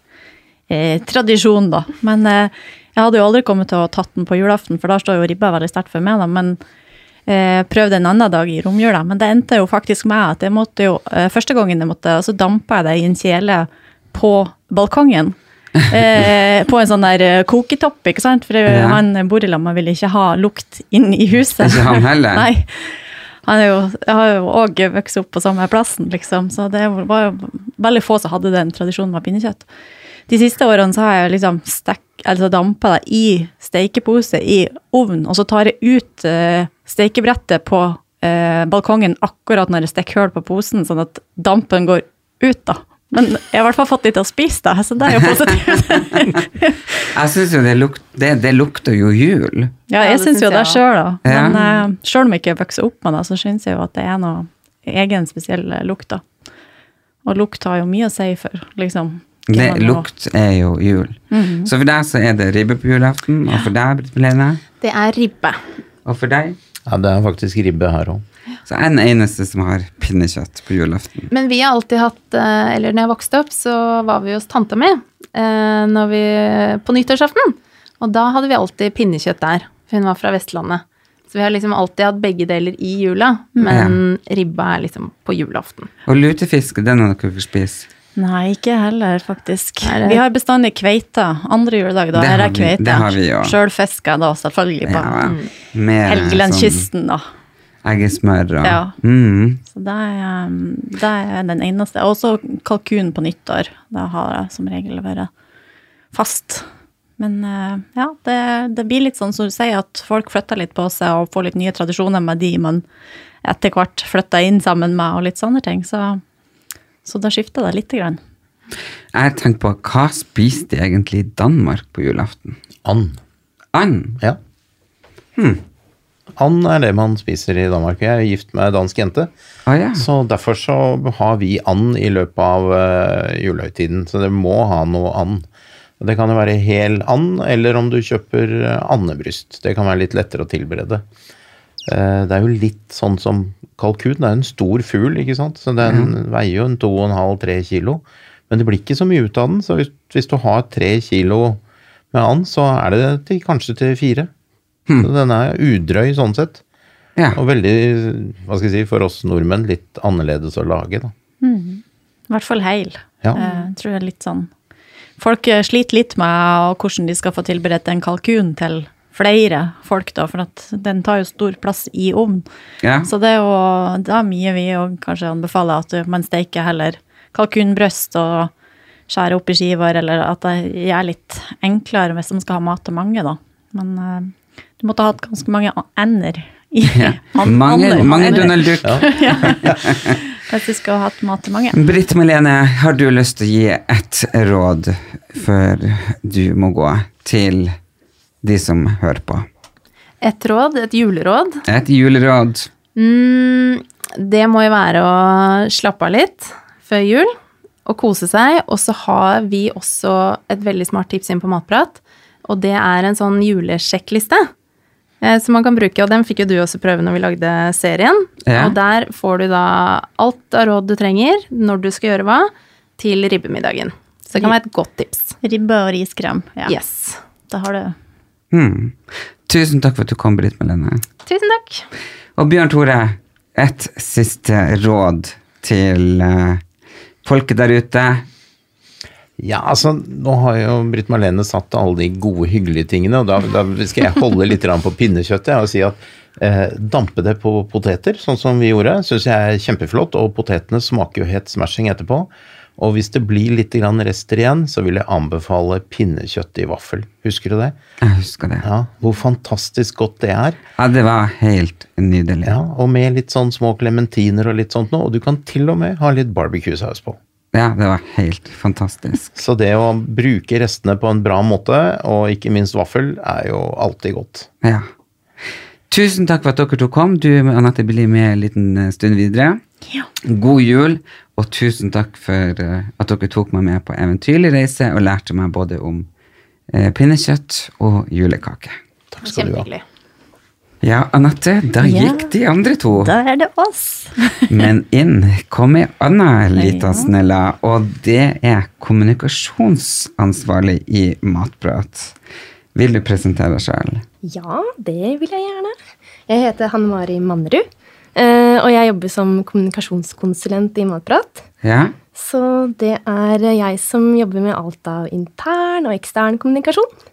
S2: eh, tradisjonen, da. Men eh, jeg hadde jo aldri kommet til å tatt den på julaften, for da står jo ribba veldig sterkt for meg, da. Men eh, prøvde en annen dag i romjula. Men det endte jo faktisk med at jeg måtte jo eh, Første gangen jeg måtte, så dampa jeg det i en kjele på balkongen. eh, på en sånn der eh, koketopp, ikke sant? For eh,
S1: Ja.
S2: han eh, bor i lag med ville ikke ha lukt inn i huset.
S1: Ikke han heller?
S2: Nei. Han er jo, jeg har jo òg vokst opp på samme plassen, liksom. Så det var jo veldig få som hadde den tradisjonen med pinnekjøtt. De siste årene så har jeg liksom stek, altså dampa det i steikepose i ovn, og så tar jeg ut eh, steikebrettet på eh, balkongen akkurat når jeg stikker hull på posen, sånn at dampen går ut, da. Men jeg har i hvert fall fått litt å spise, da, så det er jo positivt.
S1: Jeg syns jo det, luk det, det lukter jo jul.
S2: Ja, jeg
S3: det
S2: syns
S3: synes
S2: jo
S3: jeg
S2: det
S3: også.
S2: sjøl, da.
S1: Ja.
S2: Men eh, sjøl om jeg ikke vokser opp med det, så syns jeg jo at det er noe egen spesiell eh, lukt, da. Og lukt har jo mye å si for, liksom. hvem
S1: Det,
S2: man er.
S1: lukt er jo Mhm. jul. Så for deg så er det ribbe på julaften, og for deg, Britt Helene,
S3: Det er ribbe.
S1: og for deg,
S4: Ja, det er faktisk ribbe her òg.
S1: så er jeg den eneste som har pinnekjøtt på julaften.
S3: Men vi har alltid hatt, eh, eller når jeg vokste opp, så var vi hos tanta mi eh, når vi, på nyttårsaften. Og da hadde vi alltid pinnekjøtt der. for Hun var fra Vestlandet. Så vi har liksom alltid hatt begge deler i jula, men ribba er liksom på julaften.
S1: Og lutefisk, den har dere ikke spist.
S2: Nei, ikke heller, faktisk.
S3: Er det-
S2: Vi har bestandig kveita. Andre juledag, da,
S1: Det
S2: er
S1: har
S2: det
S1: vi- det
S2: kveite.
S1: har vi jo.
S2: Sjøl fisker jeg da, selvfølgelig, på
S1: Ja,
S2: mm,
S1: med
S2: Helgelandskysten, da.
S1: sånn Eggesmør og
S2: Ja.
S1: mm.
S2: Så det er, um, det er den eneste. Og så kalkun på nyttår. Det har jeg som regel vært fast. Men eh, ja, det, det blir litt sånn som du sier, at folk flytter litt på seg og får litt nye tradisjoner med de man etter hvert flytter inn sammen med, og litt sånne ting. Så, så da skifter det lite grann.
S1: Jeg tenker på hva spiste de egentlig i Danmark på julaften?
S4: And.
S1: And?
S4: Ja.
S1: Hm.
S4: And er det man spiser i Danmark. Jeg er gift med ei dansk jente,
S1: Å ja.
S4: så derfor så har vi and i løpet av eh, julehøytiden. Så det må ha noe and. Og Det kan jo være hel and, eller om du kjøper eh, andebryst. Det kan være litt lettere å tilberede. Eh, Det er jo litt sånn som kalkun. Det er en stor fugl, ikke sant? så den veier jo en 2,5-3 kilo. Men det blir ikke så mye ut av den, så hvis, hvis du har 3 kilo med and, så er det til, kanskje til 4. Så den er udrøy sånn sett.
S1: ja.
S4: Og veldig, hva skal jeg si, for oss nordmenn litt annerledes å lage, da.
S2: I hvert fall heil.
S4: Ja.
S2: Eh, tror jeg er litt sånn. Folk eh, sliter litt med hvordan de skal få tilberedt en kalkun til flere folk, da, for at den tar jo stor plass i ovnen.
S1: ja.
S2: Så det er jo det er mye vi òg kanskje anbefaler, at man steker heller kalkunbrøst og skjærer opp i skiver, eller at det er litt enklere hvis man skal ha mat til mange, da. Men eh, du måtte ha hatt ganske mange a- ender. I,
S1: ja.
S2: an-
S1: Mange,
S2: ander-
S1: mange
S2: ender,
S1: Donald Duck.
S2: Hvis du skal ha hatt mat til mange.
S1: Britt Melene, har du lyst til å gi et råd før du må gå til de som hører på?
S3: Et råd, et juleråd,
S1: Et juleråd.
S3: mm, det må jo være å slappe av litt før jul og kose seg. Og så har vi også et veldig smart tips inn på Matprat, og det er en sånn julesjekkliste. eh, Som man kan bruke, og den fikk jo du også prøve når vi lagde serien.
S1: Ja.
S3: Og der får du da alt av råd du trenger, når du skal gjøre hva, til ribbemiddagen. Så det kan være et godt tips.
S2: Ribbe og riskrem. Ja.
S3: Yes.
S2: Da har du
S1: Hmm. Tusen takk for at du kom, Britt Melene.
S3: Tusen takk.
S1: Og Bjørn Tore, et siste råd til eh, folket der ute.
S4: Ja, altså, nå har jo Britt Marlene satt alle de gode, hyggelige tingene, og da, da skal jeg holde litt grann på pinnekjøttet og si at eh, dampe det på poteter, sånn som vi gjorde, syns jeg er kjempeflott, og potetene smaker jo helt smashing etterpå. Og hvis det blir litt grann rester igjen, så vil jeg anbefale pinnekjøtt i vaffel. Husker du det?
S1: Jeg husker det.
S4: Ja, Hvor fantastisk godt det er.
S1: Ja, det var helt nydelig.
S4: Ja, Og med litt sånn små klementiner og litt sånt noe, og du kan til og med ha litt barbecue-saus på.
S1: Ja, det var helt fantastisk.
S4: Så det å bruke restene på en bra måte, og ikke minst vaffel, er jo alltid godt.
S1: Ja. Tusen takk for at dere to kom. Du Anette blir med en liten eh, stund videre. God jul, og tusen takk for eh, at dere tok meg med på eventyrlig reise og lærte meg både om eh, pinnekjøtt og julekake.
S4: Takk skal du ha.
S3: Kjempehyggelig.
S1: Ja, Anette, da
S2: Ja.
S1: gikk de andre to.
S2: Da er det oss.
S1: Men inn kom ei anna lita snella, og det er kommunikasjonsansvarlig i Matprat. Vil du presentere deg sjøl?
S7: Ja, det vil jeg gjerne. Jeg heter Hanne Mari Mannerud. eh, Og jeg jobber som kommunikasjonskonsulent i Matprat.
S1: Ja?
S7: Så det er jeg som jobber med alt av intern og ekstern kommunikasjon.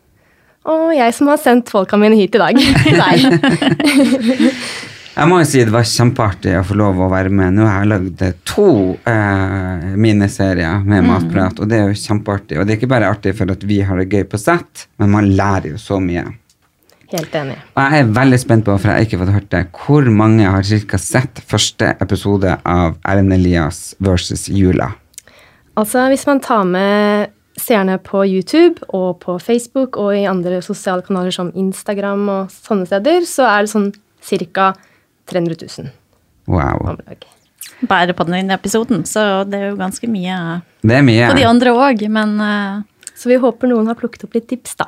S7: Og jeg som har sendt folka mine hit i dag. Til deg.
S1: Jeg må jo si det var kjempeartig å få lov å være med. Nå har jeg lagd to eh, miniserier med
S2: Mm.
S1: matprat, og det er jo kjempeartig. Og det er ikke bare artig for at vi har det gøy på sett, men man lærer jo så mye.
S7: Helt enig.
S1: Og jeg er veldig spent på, for jeg har ikke fått hørt det, hvor mange har cirka sett første episode av Erlend Elias versus Jula?
S7: Altså, hvis man tar med seerne på YouTube og på Facebook og i andre sosiale kanaler som Instagram og sånne steder, så er det sånn ca. 300 000.
S1: Wow.
S2: Bare på den ene episoden, så det er jo ganske mye.
S1: Det er mye.
S2: Og de andre òg, men eh,
S7: Så vi håper noen har plukket opp litt tips, da.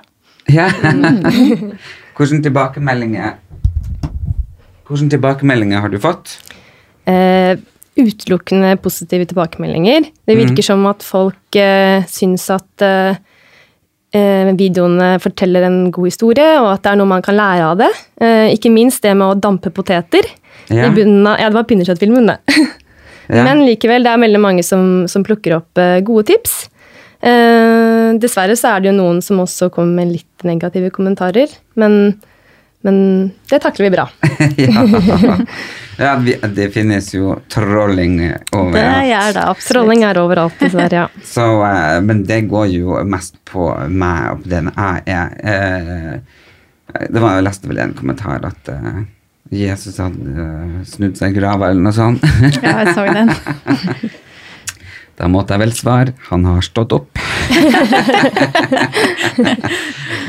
S1: Ja.
S2: Mm.
S1: Hvilke tilbakemeldinger Hvilke tilbakemeldinger har du fått?
S7: Eh, utelukkende positive tilbakemeldinger. Det virker
S1: Mhm.
S7: som at folk eh, syns at eh, eh, videoene forteller en god historie, og at det er noe man kan lære av det. Eh, ikke minst det med å dampe poteter.
S1: Ja.
S7: I bunnen av, ja, det var pinnekjøttfilmen, det.
S1: Ja.
S7: Men likevel, det er veldig mange som, som plukker opp eh, gode tips. Eh, dessverre så er det jo noen som også kommer med litt negative kommentarer, men, men det takler vi bra.
S1: ja. ja vi, det finnes jo trolling over
S7: gjør det absolutt. Trolling er overalt, dessverre. ja.
S1: Så, eh, men det går jo mest på meg og på den jeg er. Eh, det var, jeg leste vel en kommentar at eh, Jesus hadde eh, snudd seg i grava eller noe sånt.
S2: ja, jeg så den.
S1: da måtte jeg vel svare han har stått opp.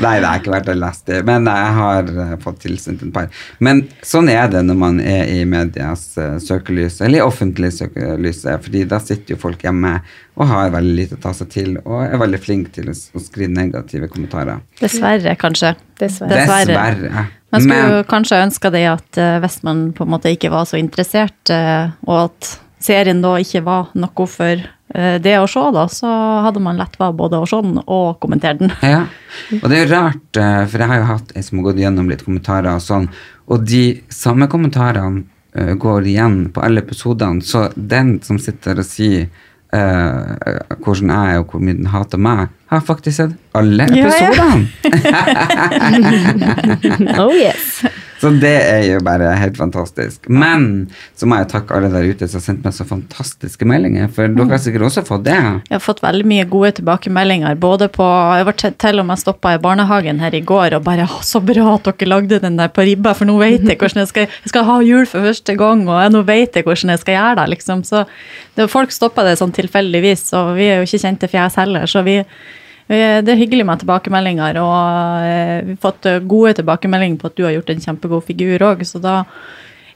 S1: Nei, det har ikke vært å lese det, men jeg har eh, fått tilsendt et par. Men sånn er det når man er i medias eh, søkelys, eller i offentlig søkelys, eh, fordi da sitter jo folk hjemme og har veldig lite å ta seg til, og er veldig flinke til å s- å skrive negative kommentarer.
S2: Dessverre, kanskje.
S7: Dessverre.
S1: Dessverre.
S2: Man skulle
S1: Men-
S2: jo kanskje ønske det at eh, Westman på en måte ikke var så interessert, eh, og at serien da ikke var noe for eh, det å se, da, så hadde man lett vært både å se den og kommentere den.
S1: Ja,
S2: Mm.
S1: og det er jo rart, eh, for jeg har jo hatt en som har gått gjennom litt kommentarer og sånn, og de samme kommentarene eh, går igjen på alle episodene, så den som sitter og sier eh, hvordan jeg er og hvor mye den hater meg, har faktisk sett alle
S2: Ja, ja.
S1: episodene.
S7: Oh yes.
S1: Så det er jo bare helt fantastisk. Men så må jeg takke alle der ute som har sendt meg så fantastiske meldinger, for dere har sikkert også fått det.
S2: Jeg har fått veldig mye gode tilbakemeldinger. både på, Jeg var til- til og med stoppa i barnehagen her i går og bare «Å, 'Så bra at dere lagde den der på ribba, for nå vet jeg hvordan jeg skal, jeg skal ha jul for første gang.' og jeg, 'Nå vet jeg hvordan jeg skal gjøre det.' liksom. Så det, Folk stoppa det sånn tilfeldigvis, og vi er jo ikke kjente fjes heller. så vi... vi- Det er hyggelig med tilbakemeldinger, og eh, vi har fått eh, gode tilbakemeldinger på at du har gjort en kjempegod figur òg, så da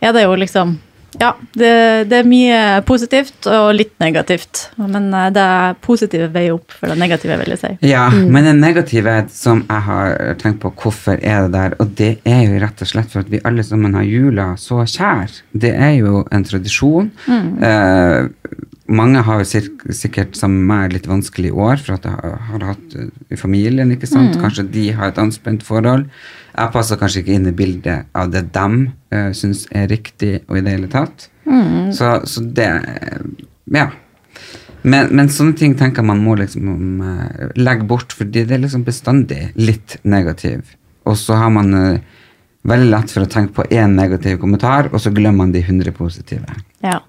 S2: er det jo liksom Ja, det, det er mye positivt og litt negativt. Men eh, det positive veier opp for det negative, vil jeg si.
S1: Ja, men det negative som jeg har tenkt på, hvorfor er det der? Og det er jo rett og slett for at vi alle sammen har jula så kjær. Det er jo en tradisjon.
S2: Mm.
S1: Eh, mange har jo sirk- sikkert som meg litt vanskelig år, for at jeg har- har hatt eh, i familien, ikke sant.
S8: Mm.
S1: Kanskje de har et anspent forhold. Jeg passer kanskje ikke inn i bildet av det dem uh, syns er riktig og i det hele tatt.
S8: Mm.
S1: Så, så det eh, Ja. Men, men sånne ting tenker man må liksom eh, legge bort, fordi det er liksom bestandig litt negativ. Og så har man eh, veldig lett for å tenke på én negativ kommentar, og så glemmer man de 100 positive.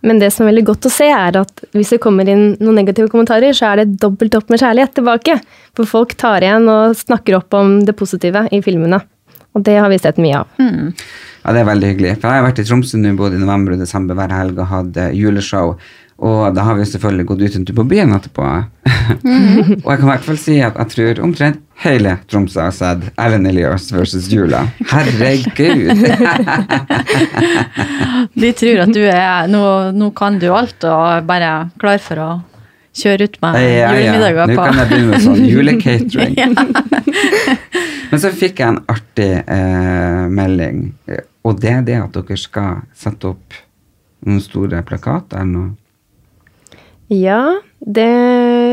S7: Men det som er veldig godt å se, er at hvis det kommer inn noen negative kommentarer, så er det dobbelt opp med kjærlighet tilbake. For folk tar igjen og snakker opp om det positive i filmene. Og det har vi sett mye av.
S2: Hmm.
S1: Ja, det er veldig hyggelig. For jeg har vært i Tromsø nå både i november og desember hver helg og hatt eh, juleshow. Og da har vi selvfølgelig gått ut en tur på byen etterpå. og jeg kan i hvert fall si at jeg tror omtrent hele Tromsø har sett Ellen Elias versus Jula. Herregud!
S2: De tror at du er Nå, nå kan du alt og bare er klar for å kjøre ut med
S1: Ja, ja.
S2: julemiddager
S1: Nå
S2: på
S1: kan jeg begynne med sånn julecatering.
S2: ja.
S1: Men så fikk jeg en artig eh, melding, eh, og det er det at dere skal sette opp noen store plakater eller noe.
S7: Ja, det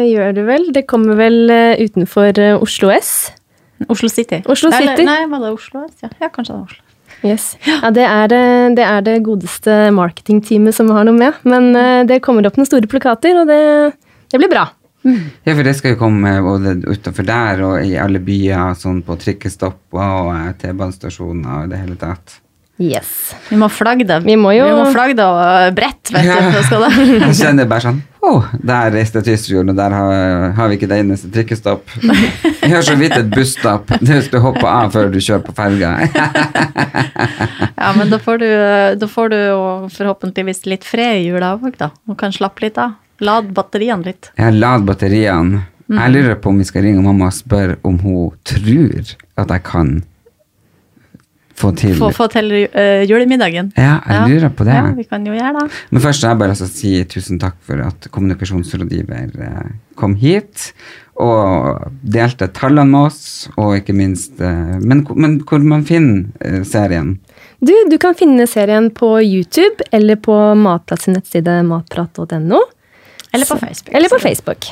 S7: gjør det vel. Det kommer vel eh, utenfor eh, Oslo S.
S2: Oslo City.
S7: Oslo
S2: Nei,
S7: City.
S2: Nei, var det Oslo? Ja, ja kanskje det var Oslo.
S7: Yes. Ja, det er, eh, det er det godeste marketingteamet som har noe med. Men eh, det kommer opp noen store plakater, og det, det blir bra.
S1: Ja, for det skal jo komme både utenfor der og i alle byer, sånn på trikkestopp og eh, T-banestasjoner og i det hele tatt.
S7: Yes.
S2: Vi må flagge det. Vi
S7: må
S2: jo Vi må flagge det og bredt, vet du. for Skal det.
S1: Jeg kjenner bare sånn Åh, der reiste jeg til Tysfjorden, og der har, har vi ikke det eneste trikkestopp. Jeg har så vidt et busstopp. Du skal hoppe av før du kjører på ferga.
S2: Ja, men da får, du, da får du jo forhåpentligvis litt fred i jula òg, da. Og kan slappe litt av. Lad batteriene litt.
S1: Jeg har ladd batteriene.
S2: Mm.
S1: Jeg lurer på om vi skal ringe mamma og spørre om hun tror at jeg kan få til
S2: Få, få til eh, julemiddagen.
S1: Ja, jeg lurer på det.
S2: Ja, vi kan jo gjøre det.
S1: Men først har jeg bare lyst til å si tusen takk for at kommunikasjonsrådgiver eh, kom hit og delte tallene med oss, og ikke minst eh, Men, hvor- men hvor man finner eh, serien?
S7: Du, du kan finne serien på YouTube eller på Matprat sin nettside matprat.no.
S2: Eller på Facebook.
S7: Eller på Facebook.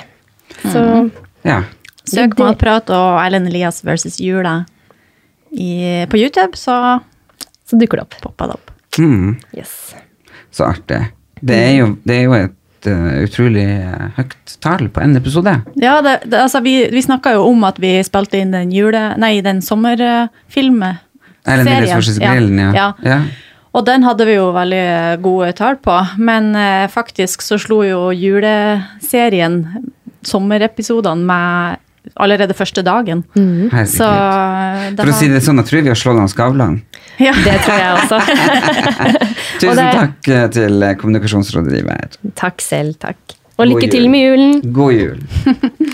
S7: Så
S3: Mm.
S1: Ja.
S2: Søk Matprat og Erlend Elias versus Jula i, på YouTube, så
S7: Så dukker det opp.
S2: Popper det opp.
S1: Mm.
S7: Yes.
S1: Så artig. Det er jo, det er jo et eh, utrolig eh, høyt tall på en episode.
S2: Ja, det, det, altså vi, vi snakka jo om at vi spilte inn den jule... Nei, den sommerfilmen.
S1: Erlend Elias versus Grillen, ja.
S2: ja. Og den hadde vi jo veldig gode tall på, men eh, faktisk så slo jo juleserien sommerepisodene med allerede første dagen.
S7: Mhm.
S1: Herregud.
S2: Så det
S1: For å si det sånn, jeg tror vi har slått han Skavlan.
S2: Ja.
S7: Det tror jeg også.
S1: Tusen
S7: det er-
S1: takk eh, til eh, kommunikasjonsrådgiver.
S7: Takk selv, takk. Og
S1: God
S7: lykke til
S1: jul.
S7: med julen.
S1: God jul.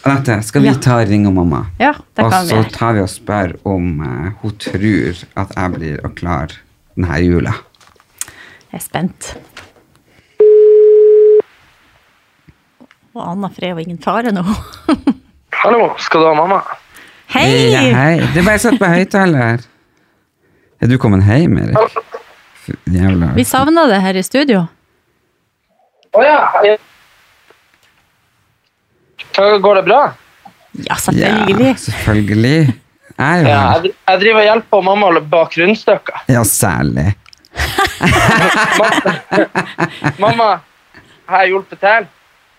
S1: Anette, skal vi ta Ring og mamma?
S2: Ja, det
S1: og
S2: kan vi
S1: så
S2: gjøre.
S1: tar vi og spør om eh, hun tror at jeg blir å klare denne jula.
S2: Jeg er spent. Og Anna Frey og ingen fare nå.
S5: Hallo, skal du ha mamma?
S2: Hei!
S1: Ja, hei. Du bare satt på høyttaler. Er du kommet hjem, Erik? Fy Jævla
S2: Vi savna det her i studio.
S5: Å ja. Går det bra?
S2: Ja, selvfølgelig.
S1: Ja, selvfølgelig. Jeg er jo
S5: Ja,
S1: her.
S5: jeg, jeg driver og hjelper mamma å bake rundstykker.
S1: Ja, særlig.
S5: Mamma, har jeg hjulpet til?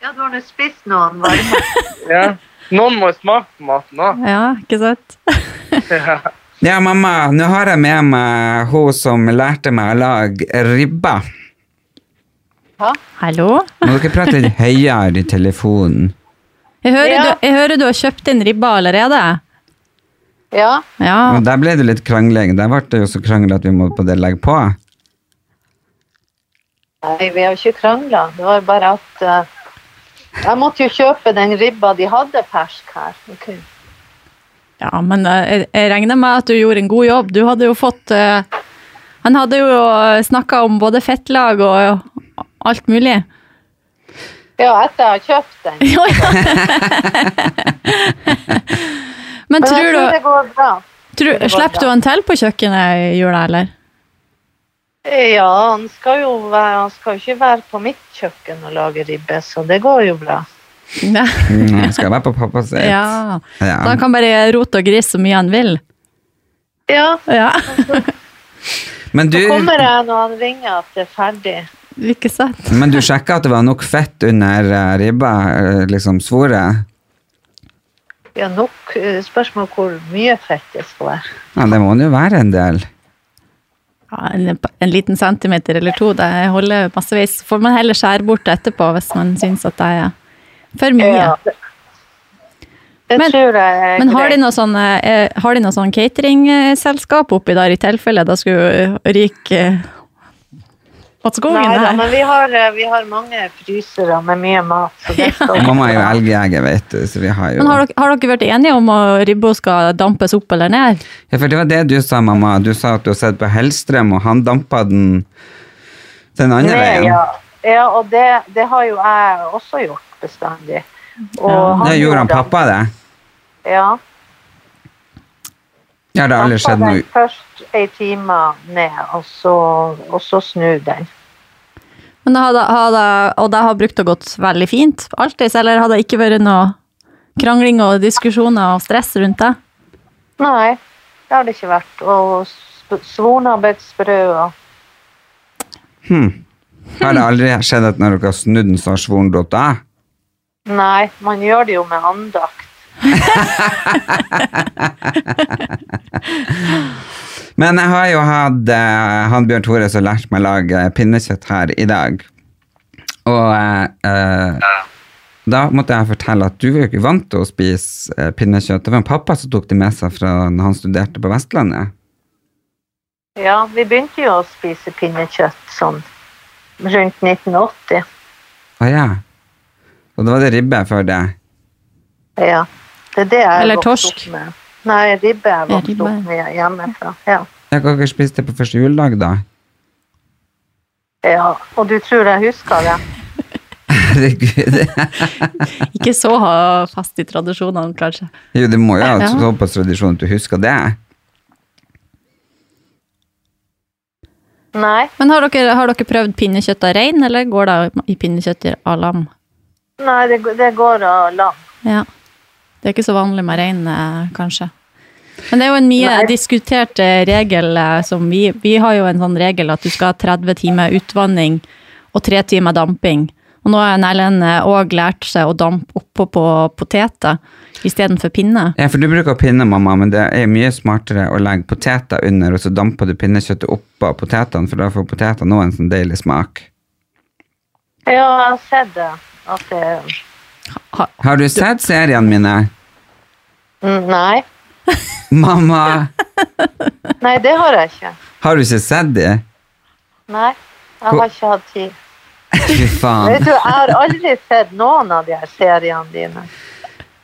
S9: Ja, du har nå spist noen varme.
S5: Ja. Noen må jo smake på maten òg.
S2: Ja, ikke sant?
S1: Ja, mamma, nå har jeg med meg hun som lærte meg å lage ribba.
S2: Hallo?
S1: Må dere prate litt høyere i telefonen.
S2: Jeg hører, du, jeg hører du har kjøpt inn ribba allerede.
S9: Ja.
S2: Ja,
S1: Og der ble det litt krangling. Der ble det jo så krangel at vi må på det legge på.
S9: Nei, vi har ikke krangla. Det var bare at eh, Jeg måtte jo kjøpe den ribba de hadde fersk her. Ok.
S2: ja men eh, jeg, jeg regner med at du gjorde en god jobb. Du hadde jo fått eh, Han hadde jo snakka om både fettlag og alt mulig.
S9: Ja, etter jeg har kjøpt den.
S2: Men
S9: Men jeg
S2: tror
S9: tror det
S2: du,
S9: går bra.
S2: tror,
S9: det går
S2: Slipper du
S9: bra.
S2: han til på kjøkkenet i jula, eller?
S9: Ja, han skal jo være, han skal jo ikke være på mitt kjøkken og lage ribbe, så det går jo bra.
S1: Mm, skal være på pappa sitt.
S2: Ja.
S1: Ja.
S2: Så han kan bare rote og grise så mye han vil.
S9: Ja.
S1: Men, du,
S9: Så kommer jeg når han ringer at det er ferdig.
S2: Mm. Ikke sant?
S1: men du sjekka at det var nok fett under eh, ribba, eh, liksom svoret?
S9: Ja, nok eh, spørsmål hvor mye fett det skal være.
S1: Ja, det må det jo være en del.
S2: Ja, en, en liten centimeter eller to, det holder massevis. Så får man heller skjære bort etterpå hvis man syns at det er for mye.
S9: Det
S2: Men-
S9: tror jeg er
S2: Men har de
S9: greit.
S2: noe sånn, eh, har de noe sånn cateringselskap oppi der i tilfelle det skulle ryke eh, åt skogen
S9: Nei da,
S2: her?
S9: men vi har, eh, vi har mange frysere med mye mat. Så det skal
S1: Mamma er jo elgjeger, vet du, så vi har jo
S2: Men har dere, har dere vært enige om at ribba skal dampes opp eller ned?
S1: Ja, for det var det du sa, mamma. Du sa at du har sett på Hellstrøm, og han dampa den den andre
S9: Nei,
S1: veien.
S9: ja. ja, og det, det har jo jeg også gjort bestandig. Og
S1: Det gjorde han
S9: gjorde-
S1: pappa, det.
S9: Ja.
S1: Ja, det har aldri skjedd noe.
S9: Først ei time ned, og så, og så snu den.
S2: Men det hadde, hadde, og det har brukt og gått veldig fint, alltid, eller hadde det ikke vært noe krangling og diskusjoner og stress rundt det?
S9: Nei, det har det ikke vært. Og sp- svorne har blitt sprø. og-
S1: Hm. Har det aldri skjedd at når dere har snudd den, så har svoren gått av?
S9: Nei, man gjør det jo med andakt.
S1: Men jeg har jo hatt eh, han Bjørn Tore som lærte meg å lage pinnekjøtt her i dag. Og eh, eh, da måtte jeg fortelle at du var jo ikke vant til å spise eh, pinnekjøtt. Det var en pappa som tok det med seg fra når han studerte på Vestlandet.
S9: Ja, vi begynte jo å spise pinnekjøtt sånn rundt 1980.
S1: Å ja. Og da var det ribbe før det.
S9: Ja, det er det jeg
S2: Eller
S9: vokste
S2: torsk.
S9: opp med. Nei, ribbe jeg
S2: Ja,
S9: vokste opp med hjemmefra. Ja.
S1: Jeg kan ikke spise det på første juledag, da.
S9: ja, og du tror jeg husker det?
S1: Herregud.
S2: Ikke så ha fast i tradisjonene, kanskje.
S1: Jo, det må jo ha
S2: Ja.
S1: såpass tradisjon at du husker det.
S9: Nei.
S2: Men har dere, har dere prøvd pinnekjøtt av rein, eller går det i pinnekjøtt av lam?
S9: Nei, det, g- det går av lam.
S2: Ja. Det er ikke så vanlig med rein, eh, kanskje. Men det er jo en mye diskutert eh, regel eh, som vi Vi har jo en sånn regel at du skal ha 30 timer utvanning og 3 timer damping. Og nå har Erlend òg lært seg å dampe oppå på poteter istedenfor pinne.
S1: Ja, for du bruker pinne, mamma, men det er mye smartere å legge poteter under, og så damper du pinnekjøttet oppå potetene, for da får potetene også en sånn deilig smak.
S9: Ja, jeg har sett det. At det
S1: Har du sett seriene mine?
S9: Mm, Nei.
S1: Mamma,
S9: Nei, det har jeg ikke.
S1: har du ikke sett de?
S9: Nei, jeg har ikke hatt tid.
S1: Fy
S9: Vet
S1: faen.
S9: du, Jeg har aldri sett noen av de her seriene dine.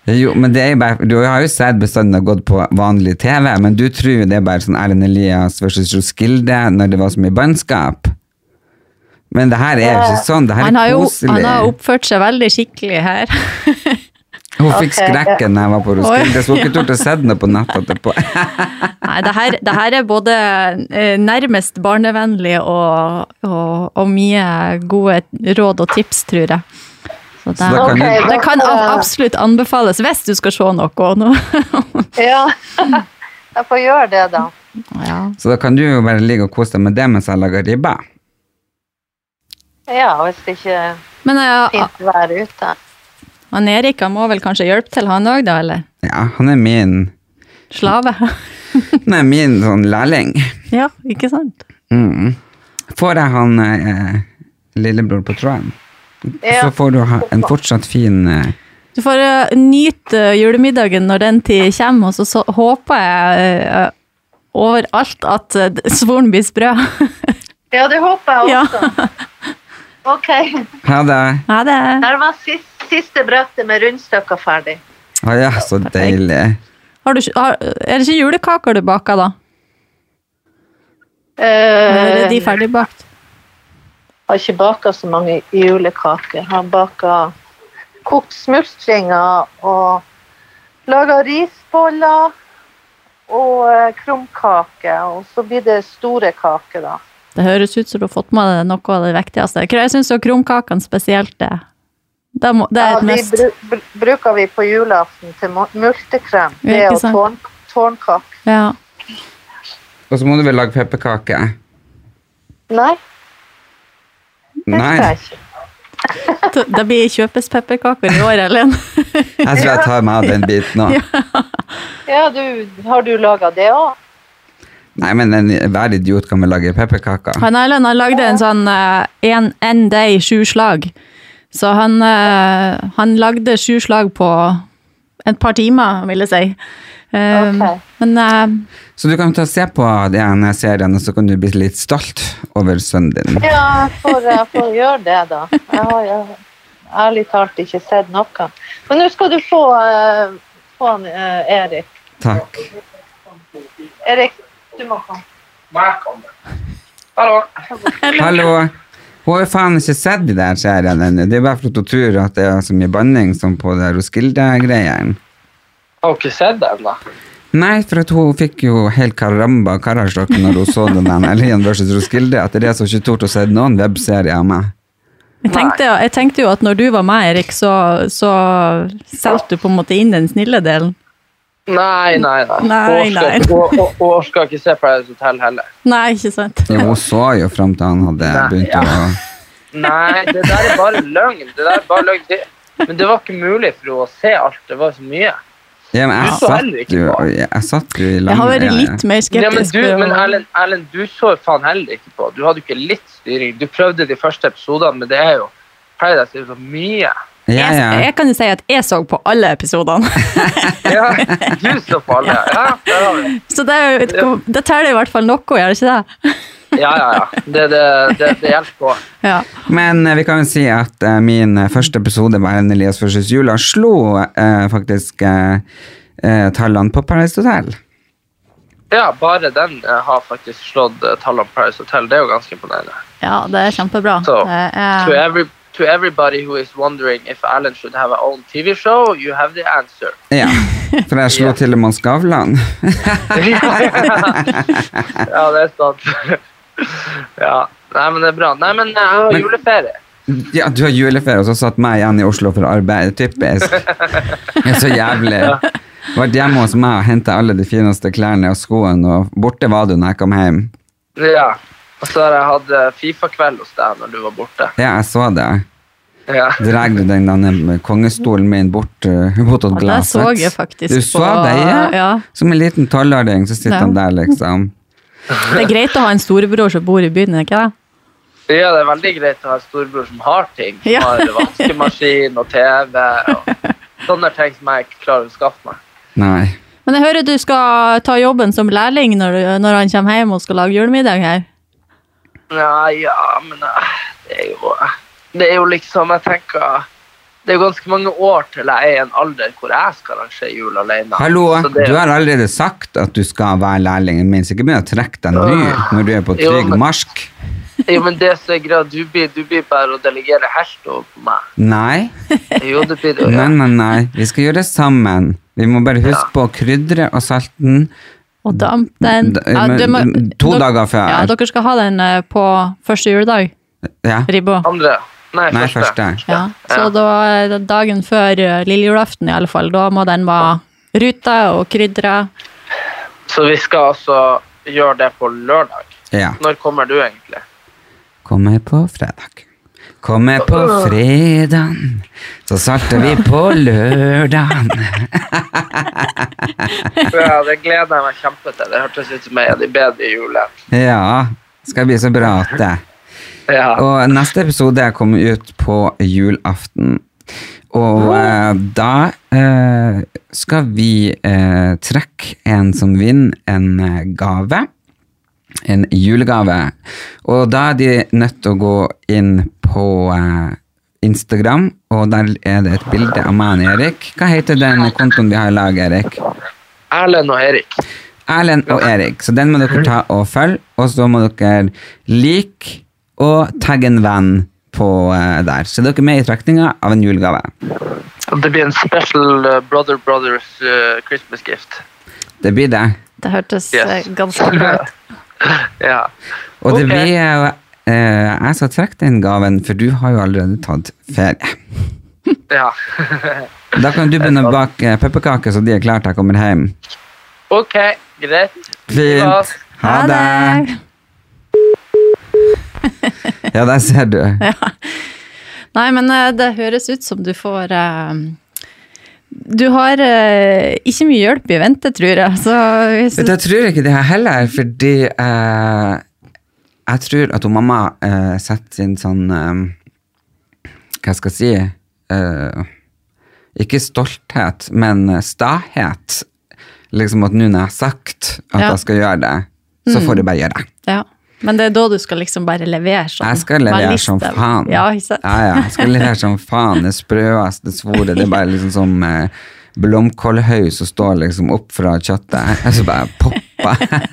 S1: Jo, men det er jo bare, du har jo sett bestanden har gått på vanlig TV, men du tror jo det er bare sånn Erlend Elias versus Roskilde når det var så mye bannskap. Men det her er jo ikke sånn, det her
S2: Han har
S1: er
S2: jo
S1: koselig.
S2: han har oppført seg veldig skikkelig her.
S1: Hun fikk
S2: Ok, ja.
S1: skrekken da jeg var på Roskilde, så hun
S2: Oi,
S1: ikke
S2: ja.
S1: torde å se den på nett etterpå.
S2: Nei, det her, det her er både eh, nærmest barnevennlig og, og, og mye gode råd og tips, tror jeg. Så det,
S1: Så da kan
S2: det,
S1: du-
S2: kan ab- absolutt anbefales hvis du skal se noe nå.
S9: Ja, jeg får gjøre det, da.
S2: ja.
S1: Så da kan du jo bare ligge og kose deg med det mens jeg lager ribba.
S9: Ja, hvis det ikke
S2: Men eh,
S9: fint vær ute.
S2: han Erik han må vel kanskje hjelpe til, han òg, da? Eller
S1: Ja, han er min,
S2: slave?
S1: han er min sånn lærling.
S2: ja, ikke sant?
S1: Mm. Får jeg han eh, lillebror på tråden,
S2: Ja.
S1: så får du ha en fortsatt fin eh,
S2: Du får eh, nyte julemiddagen når den tid kommer, og så, så håper jeg eh, overalt at uh, svoren blir sprø.
S9: Ja, det håper jeg også. Ok.
S1: Ha det!
S2: Ha det.
S9: Der var siste, siste brøttet med rundstykker ferdig.
S1: Å ja, så deilig.
S2: Har du, ikke- har, er det ikke julekaker du baker, da? Eller er de ferdigbakt?
S9: Jeg Eh, har ikke baka så mange julekaker. Jeg har baka kokt smultringer og laga risboller og eh, krumkaker. Og så blir det store kaker, da.
S2: Det høres ut som du har fått med deg noe av det viktigste. Jeg syns krumkakene spesielt er det, må, det er
S9: Ja,
S2: et must.
S9: de bru- br bruker vi på julaften til mo- multekrem.
S2: Ja,
S9: Det
S2: ikke
S9: og
S2: sant.
S9: tårn, tårnkake.
S2: Ja.
S1: Og så må du vel lage pepperkake?
S9: Nei,
S1: Nei.
S2: Det blir kjøpes pepperkaker i år, Ellen.
S1: Jeg tror jeg tar meg av den biten òg.
S9: ja, du, har du laga det òg?
S1: Nei, men en, hver idiot kan vel lage pepperkaker?
S2: Han Erlend han lagde en sånn eh, en, en day, sju slag. Så han, eh, han lagde sju slag på et par timer, vil jeg si. Eh, Men eh,
S1: Så du kan ta og se på de ene seriene, så kan du bli litt stolt over sønnen din.
S9: Ja, jeg får, jeg får gjøre det, da. Jeg har jeg, ærlig talt ikke sett noe. Men nå skal du få, eh, få han, eh, Erik.
S1: Takk.
S9: Erik, du må komme.
S5: Hallo.
S1: Hallo. Hun har jo faen ikke sett de der seriene ennå. Det er bare fordi hun tror at det er så mye banning som på det Roskilde-greien.
S5: Har du ikke sett det ennå?
S1: Nei, for at hun fikk jo helt karamba karasjok når hun så den der Alien vs. Roskilde, at det er så ikke tort å se noen webserie av meg.
S2: jeg tenkte, jeg tenkte jo at når du var med, Erik, så, så solgte du på en måte inn den snille delen.
S5: Nei, nei, nei.
S2: Nei,
S5: Hun orker-
S2: nei.
S5: hun- hun- hun orker ikke se Paradise Hotel heller.
S2: Nei, ikke sant?
S1: Jo, hun så jo fram til han hadde begynt å
S5: Nei, det der er bare løgn. Det der er bare løgn. Det, men det var ikke mulig for henne å se alt. Det var så mye.
S1: ja, men jeg,
S5: Du så heller
S1: satt
S5: ikke
S1: jo,
S5: på han.
S1: jeg satt jo i
S2: Jeg har vært
S1: ja, ja.
S2: litt mer
S5: Ja, men
S2: skeptisk.
S5: du,
S2: på-
S5: men Erlend, Erlend, du så jo faen heller ikke på. Du hadde jo ikke litt styring. Du prøvde de første episodene, men det er jo Paradise er jo så mye.
S1: Ja, ja.
S2: Jeg kan jo si at jeg så på alle episodene.
S5: Ja, du så på alle. Ja, der har vi det.
S2: Så det, er jo- det teller i hvert fall noe, gjør det ikke det?
S5: ja, ja. ja. Det, det, det, det hjelper på.
S2: Ja.
S1: Men eh, vi kan jo si at eh, min eh, første episode med Erlend Elias versus jula slo eh, faktisk eh, eh, tallene på Paradise Hotel.
S5: Ja, bare den eh, har faktisk slått eh, tallene Paris Hotel. Det er jo ganske imponerende.
S2: Ja, det er kjempebra.
S5: Så,
S2: Det
S5: To,
S2: er-
S5: every, to everybody who is wondering if Erlend should have her own TV show, you have the answer.
S1: Ja, for jeg slo til og med Skavlan.
S5: ja, det er sant. ja. Nei, men det er bra. Nei, men eh, jeg har
S1: Men-
S5: juleferie.
S1: Ja, du har juleferie, og så satt meg igjen i Oslo for arbeid. Typisk. Det er så jævlig. Vært hjemme hos meg og hentet alle de fineste klærne og skoene, og borte var du når jeg kom hjem.
S5: ja. Og så har jeg hatt eh, Fifa-kveld hos deg når du var borte.
S1: Ja, jeg så det.
S5: Ja.
S1: Dreg du den denne kongestolen min bort eh, mot et
S2: det
S1: glass?
S2: så
S1: sant?
S2: jeg faktisk
S1: Du så
S2: på-
S1: det, ja?
S2: ja.
S1: Som en liten tolvåring, så sitter
S2: Ja.
S1: han der, liksom.
S2: Det er greit å ha en storebror som bor i byen, er det ikke det?
S5: Ja, det er veldig greit å ha en storbror som har ting. Som
S2: Ja.
S5: har vaskemaskin og TV og sånne ting som jeg ikke klarer å skaffe meg.
S1: Nei.
S2: Men jeg hører du skal ta jobben som lærling når, du- når han kommer hjem og skal lage julemiddag her.
S5: Ja, ja, men eh, det er jo Det er jo liksom, jeg tenker Det er jo ganske mange år til jeg er i en alder hvor jeg skal arrangere jul alene.
S1: Hallo,
S5: Så det er
S1: du
S5: jo-
S1: har allerede sagt at du skal være lærlingen min, så ikke begynn å trekke deg nå når du er på
S5: Jo,
S1: trygg
S5: men-
S1: marsk.
S5: Jo, men det som er greia, du blir, du blir bare å delegere helt over på meg.
S1: Nei.
S5: Jo, det blir det.
S1: Nei,
S5: Ja.
S1: nei, nei. Vi skal gjøre det sammen. Vi må bare huske på å krydre og salte den
S2: Og damp den
S1: d-
S2: Ja,
S1: men-
S2: du må-
S1: to
S2: dere-
S1: dager før.
S2: Ja, dere skal ha den eh, på første juledag.
S1: Ja.
S2: Ribba.
S5: Andre. Nei,
S1: Nei,
S5: første.
S1: første.
S2: Ja. Så da er det dagen før eh, lille julaften, i alle fall, da må den være ruta og krydra.
S5: Så vi skal altså gjøre det på lørdag.
S1: Ja.
S5: Når kommer du egentlig?
S1: Kommer på fredag. Kommer på fredagen, så salter vi på lørdagen.
S5: Ja, det gleder jeg meg kjempe til. Det hørtes ut som jeg er de bedre i julen.
S1: Ja, skal bli så bra at det. Og neste episode kommer ut på julaften. Og eh, da eh, skal vi eh, trekke en som vinner en eh, gave. En julegave. Og da er de nødt til å gå inn på eh, Instagram, og der er det et bilde av meg og Erik. Hva heter den kontoen vi har i lag, Erik?
S5: Erlend og Erik.
S1: Erlend og Erik. Så den må dere ta og følge, og så må dere like og tagge en venn på eh, der. Så dere er med i trekninga av en julegave.
S5: Det blir en special eh, Brother Brothers eh, Christmas gift.
S1: Det blir det.
S2: Det hørtes
S5: Yes.
S2: eh, ganske bra ut.
S5: Ja.
S1: Og Og det blir jo eh, jeg som trekker den gaven, for du har jo allerede tatt ferie.
S5: Ja.
S1: Da kan du begynne å bake eh, pepperkaker, så de er klare til jeg kommer hjem.
S5: OK, greit.
S1: Fint. Ha det! Ja, der ser du.
S2: Ja. Nei, men eh, det høres ut som du får eh, Du har eh, ikke mye hjelp i vente, tror jeg. Så hvis
S1: Vet du, jeg tror ikke det her heller, fordi eh, jeg tror at hun mamma eh, setter sin sånn eh, Hva skal jeg si eh, Ikke stolthet, men eh, stahet. Liksom at nå når jeg har sagt at
S2: Ja.
S1: jeg skal gjøre det, så
S2: Mm.
S1: får jeg bare gjøre det.
S2: Ja. Men det er da du skal liksom bare levere sånn.
S1: Jeg skal
S2: Være
S1: levere
S2: litt
S1: som
S2: støl.
S1: faen.
S2: Ja, ikke sant?
S1: Ja, ja, jeg skal levere som faen. Det sprøeste svoret. Det er bare liksom som eh, blomkålhøy som står liksom opp fra kjøttet. Og så bare popper.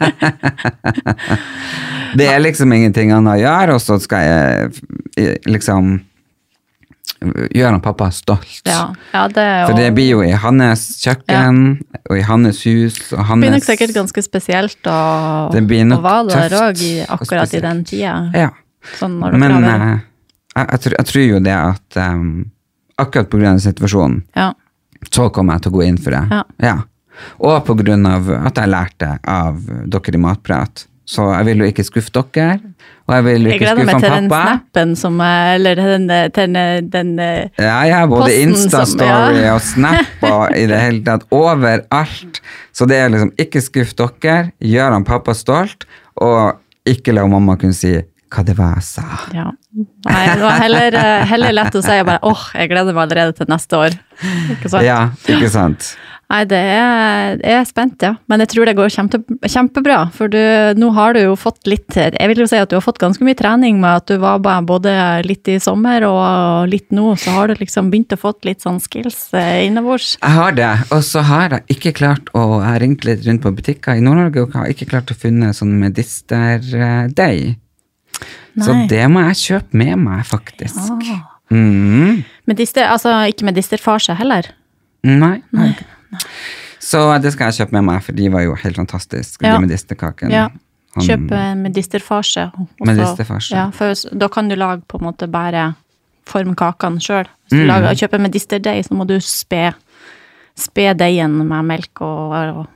S1: det er liksom ingenting annet å gjøre, og så skal jeg eh, liksom gjøre han pappa stolt.
S2: Ja. ja, det er jo
S1: For det blir jo i hans kjøkken, og i hans hus, og
S2: Det blir nok
S1: hans
S2: sikkert ganske spesielt å,
S1: Det blir
S2: å
S1: nok
S2: være der
S1: tøft
S2: òg akkurat i den tida.
S1: Ja.
S2: Sånn når
S1: Men
S2: dere har
S1: eh, jeg, jeg, tror, jeg tror jo det at um, akkurat på grunn av situasjonen,
S2: Ja.
S1: så kommer jeg til å gå inn for det.
S2: Ja.
S1: Og på grunn av at jeg lærte av dere i Matprat. Så jeg vil jo ikke skuffe dere, og jeg vil jo
S2: Jeg
S1: ikke
S2: gleder
S1: skuffe
S2: meg
S1: han
S2: til den
S1: pappa.
S2: snappen som eh, Eller den, eh, den, eh, den eh,
S1: Ja, jeg har både
S2: posten som-
S1: Insta-story
S2: ja.
S1: og Snap og i det hele tatt overalt. Så det er liksom ikke skuff dere, gjør han pappa stolt, og ikke la mamma kunne si hva det var jeg sa.
S2: Ja. Nei, det var heller, eh, heller lett å si bare åh, jeg gleder meg allerede til neste år. Ikke sant?
S1: Ja, ikke sant?
S2: Nei, det er, jeg er spent, ja. Men jeg tror det går kjempe, kjempebra. For du, nå har du jo fått litt Jeg vil jo si at du har fått ganske mye trening med at du var bare både litt i sommer og litt nå, så har du liksom begynt å få litt sånn skills eh, innebords.
S1: Jeg har det, og så har jeg ikke klart å Jeg har ringt litt rundt på butikker i Nord-Norge og har ikke klart å finne sånn medisterdeig. Så
S2: Nei.
S1: det må jeg kjøpe med meg, faktisk.
S2: Ah.
S1: Mm.
S2: Medister, altså ikke medisterfarse heller.
S1: Nei. nei. Så det skal jeg kjøpe med meg, for de var jo helt fantastiske,
S2: Ja.
S1: de medisterkakene.
S2: Ja.
S1: Han-
S2: Kjøp eh, medisterfarse. og så-
S1: Medisterfarse.
S2: Ja, for s- da kan du lage på en måte bare form kakene sjøl. Hvis
S1: Mm.
S2: du lager, kjøper medisterdeig, så må du spe, spe deigen med melk og, og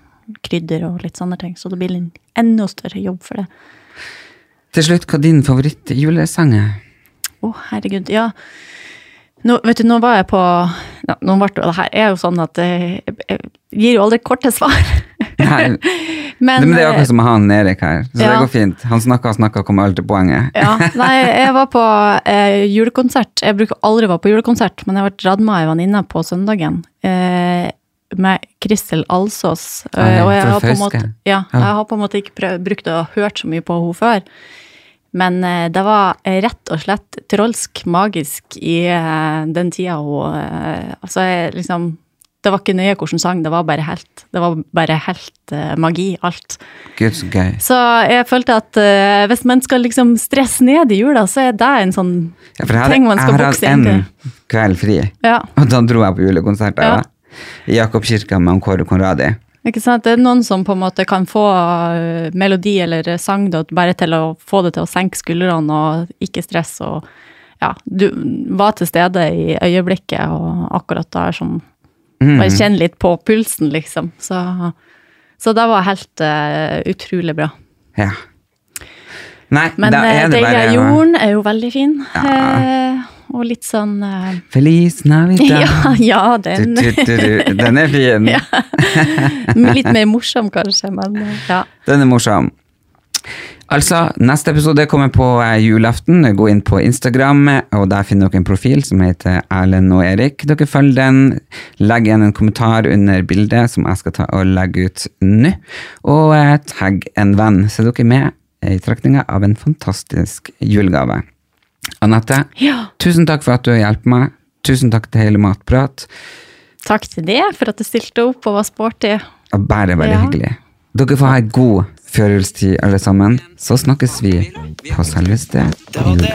S2: krydder og litt sånne ting. Så det blir en enda større jobb for det.
S1: Til slutt, hva din favorittjulesang er?
S2: Å, herregud. Ja. Nå, vet du, nå var jeg på ja, nå ble det, det her er jo sånn at eh, jeg, jeg gir jo aldri korte svar.
S1: Nei,
S2: Men,
S1: det, men det er
S2: eh,
S1: akkurat som han Erik her, så det
S2: ja.
S1: går fint. Han snakker og snakker og kommer aldri til poenget.
S2: Ja, nei, jeg var på eh, julekonsert. Jeg bruker aldri å være på julekonsert, men jeg ble dratt med ei venninne på søndagen. Eh, med Kristel Alsås. Eh,
S1: Nei,
S2: og jeg
S1: fra
S2: har, på en
S1: Fauske.
S2: måte, ja,
S1: Ja.
S2: jeg har på en måte ikke prøv, brukt å hørt så mye på henne før. Men eh, det var eh, rett og slett trolsk magisk i eh, den tida hun eh, Altså, jeg, liksom Det var ikke nøye hvilken sang, det var bare helt. Det var bare helt eh, magi, alt.
S1: Gud, så gøy.
S2: Så jeg følte at eh, hvis man skal liksom stresse ned i jula, så er det en sånn
S1: Ja, for jeg hadde,
S2: ting man
S1: jeg
S2: skal
S1: har
S2: bukse
S1: hatt
S2: inn til.
S1: en kveld fri,
S2: Ja,
S1: og da dro jeg på julekonsert.
S2: Ja.
S1: Ja. I Jakobkirka med han Kåre Konradi.
S2: ikke sant? Det er noen som på en måte kan få eh, melodi eller sang da, bare til å få det til å senke skuldrene og ikke stress og ja, du var til stede i øyeblikket og akkurat da er sånn
S1: Mm.
S2: Bare kjenne litt på pulsen, liksom. Så, så det var helt eh, utrolig bra.
S1: Ja. Nei,
S2: Men
S1: da
S2: eh,
S1: er det
S2: Deig
S1: bare
S2: av jorden er jo veldig fin.
S1: Ja.
S2: eh, og litt sånn eh,
S1: Feliz Navidad.
S2: Ja, ja,
S1: Du,
S2: den.
S1: du, du, du. Den er fin.
S2: Ja. Litt mer morsom, kanskje, men eh, ja.
S1: Den er morsom. Altså, Neste episode kommer på eh, julaften. Gå inn på Instagram, eh, og der finner dere en profil som heter Erlend og Erik. Dere følger den. Legg igjen en kommentar under bildet som jeg skal ta og legge ut nå. Og eh, tagg en venn. Så er dere med i trekninga av en fantastisk julegave. Anette,
S2: Ja.
S1: tusen takk for at du hjelper meg. Tusen takk til hele Matprat.
S2: Takk til det for at du stilte opp og var sporty.
S1: Og bare veldig
S2: Ja.
S1: hyggelig. Dere får ha ei god førjulstid, alle sammen. Så snakkes vi på selveste jula.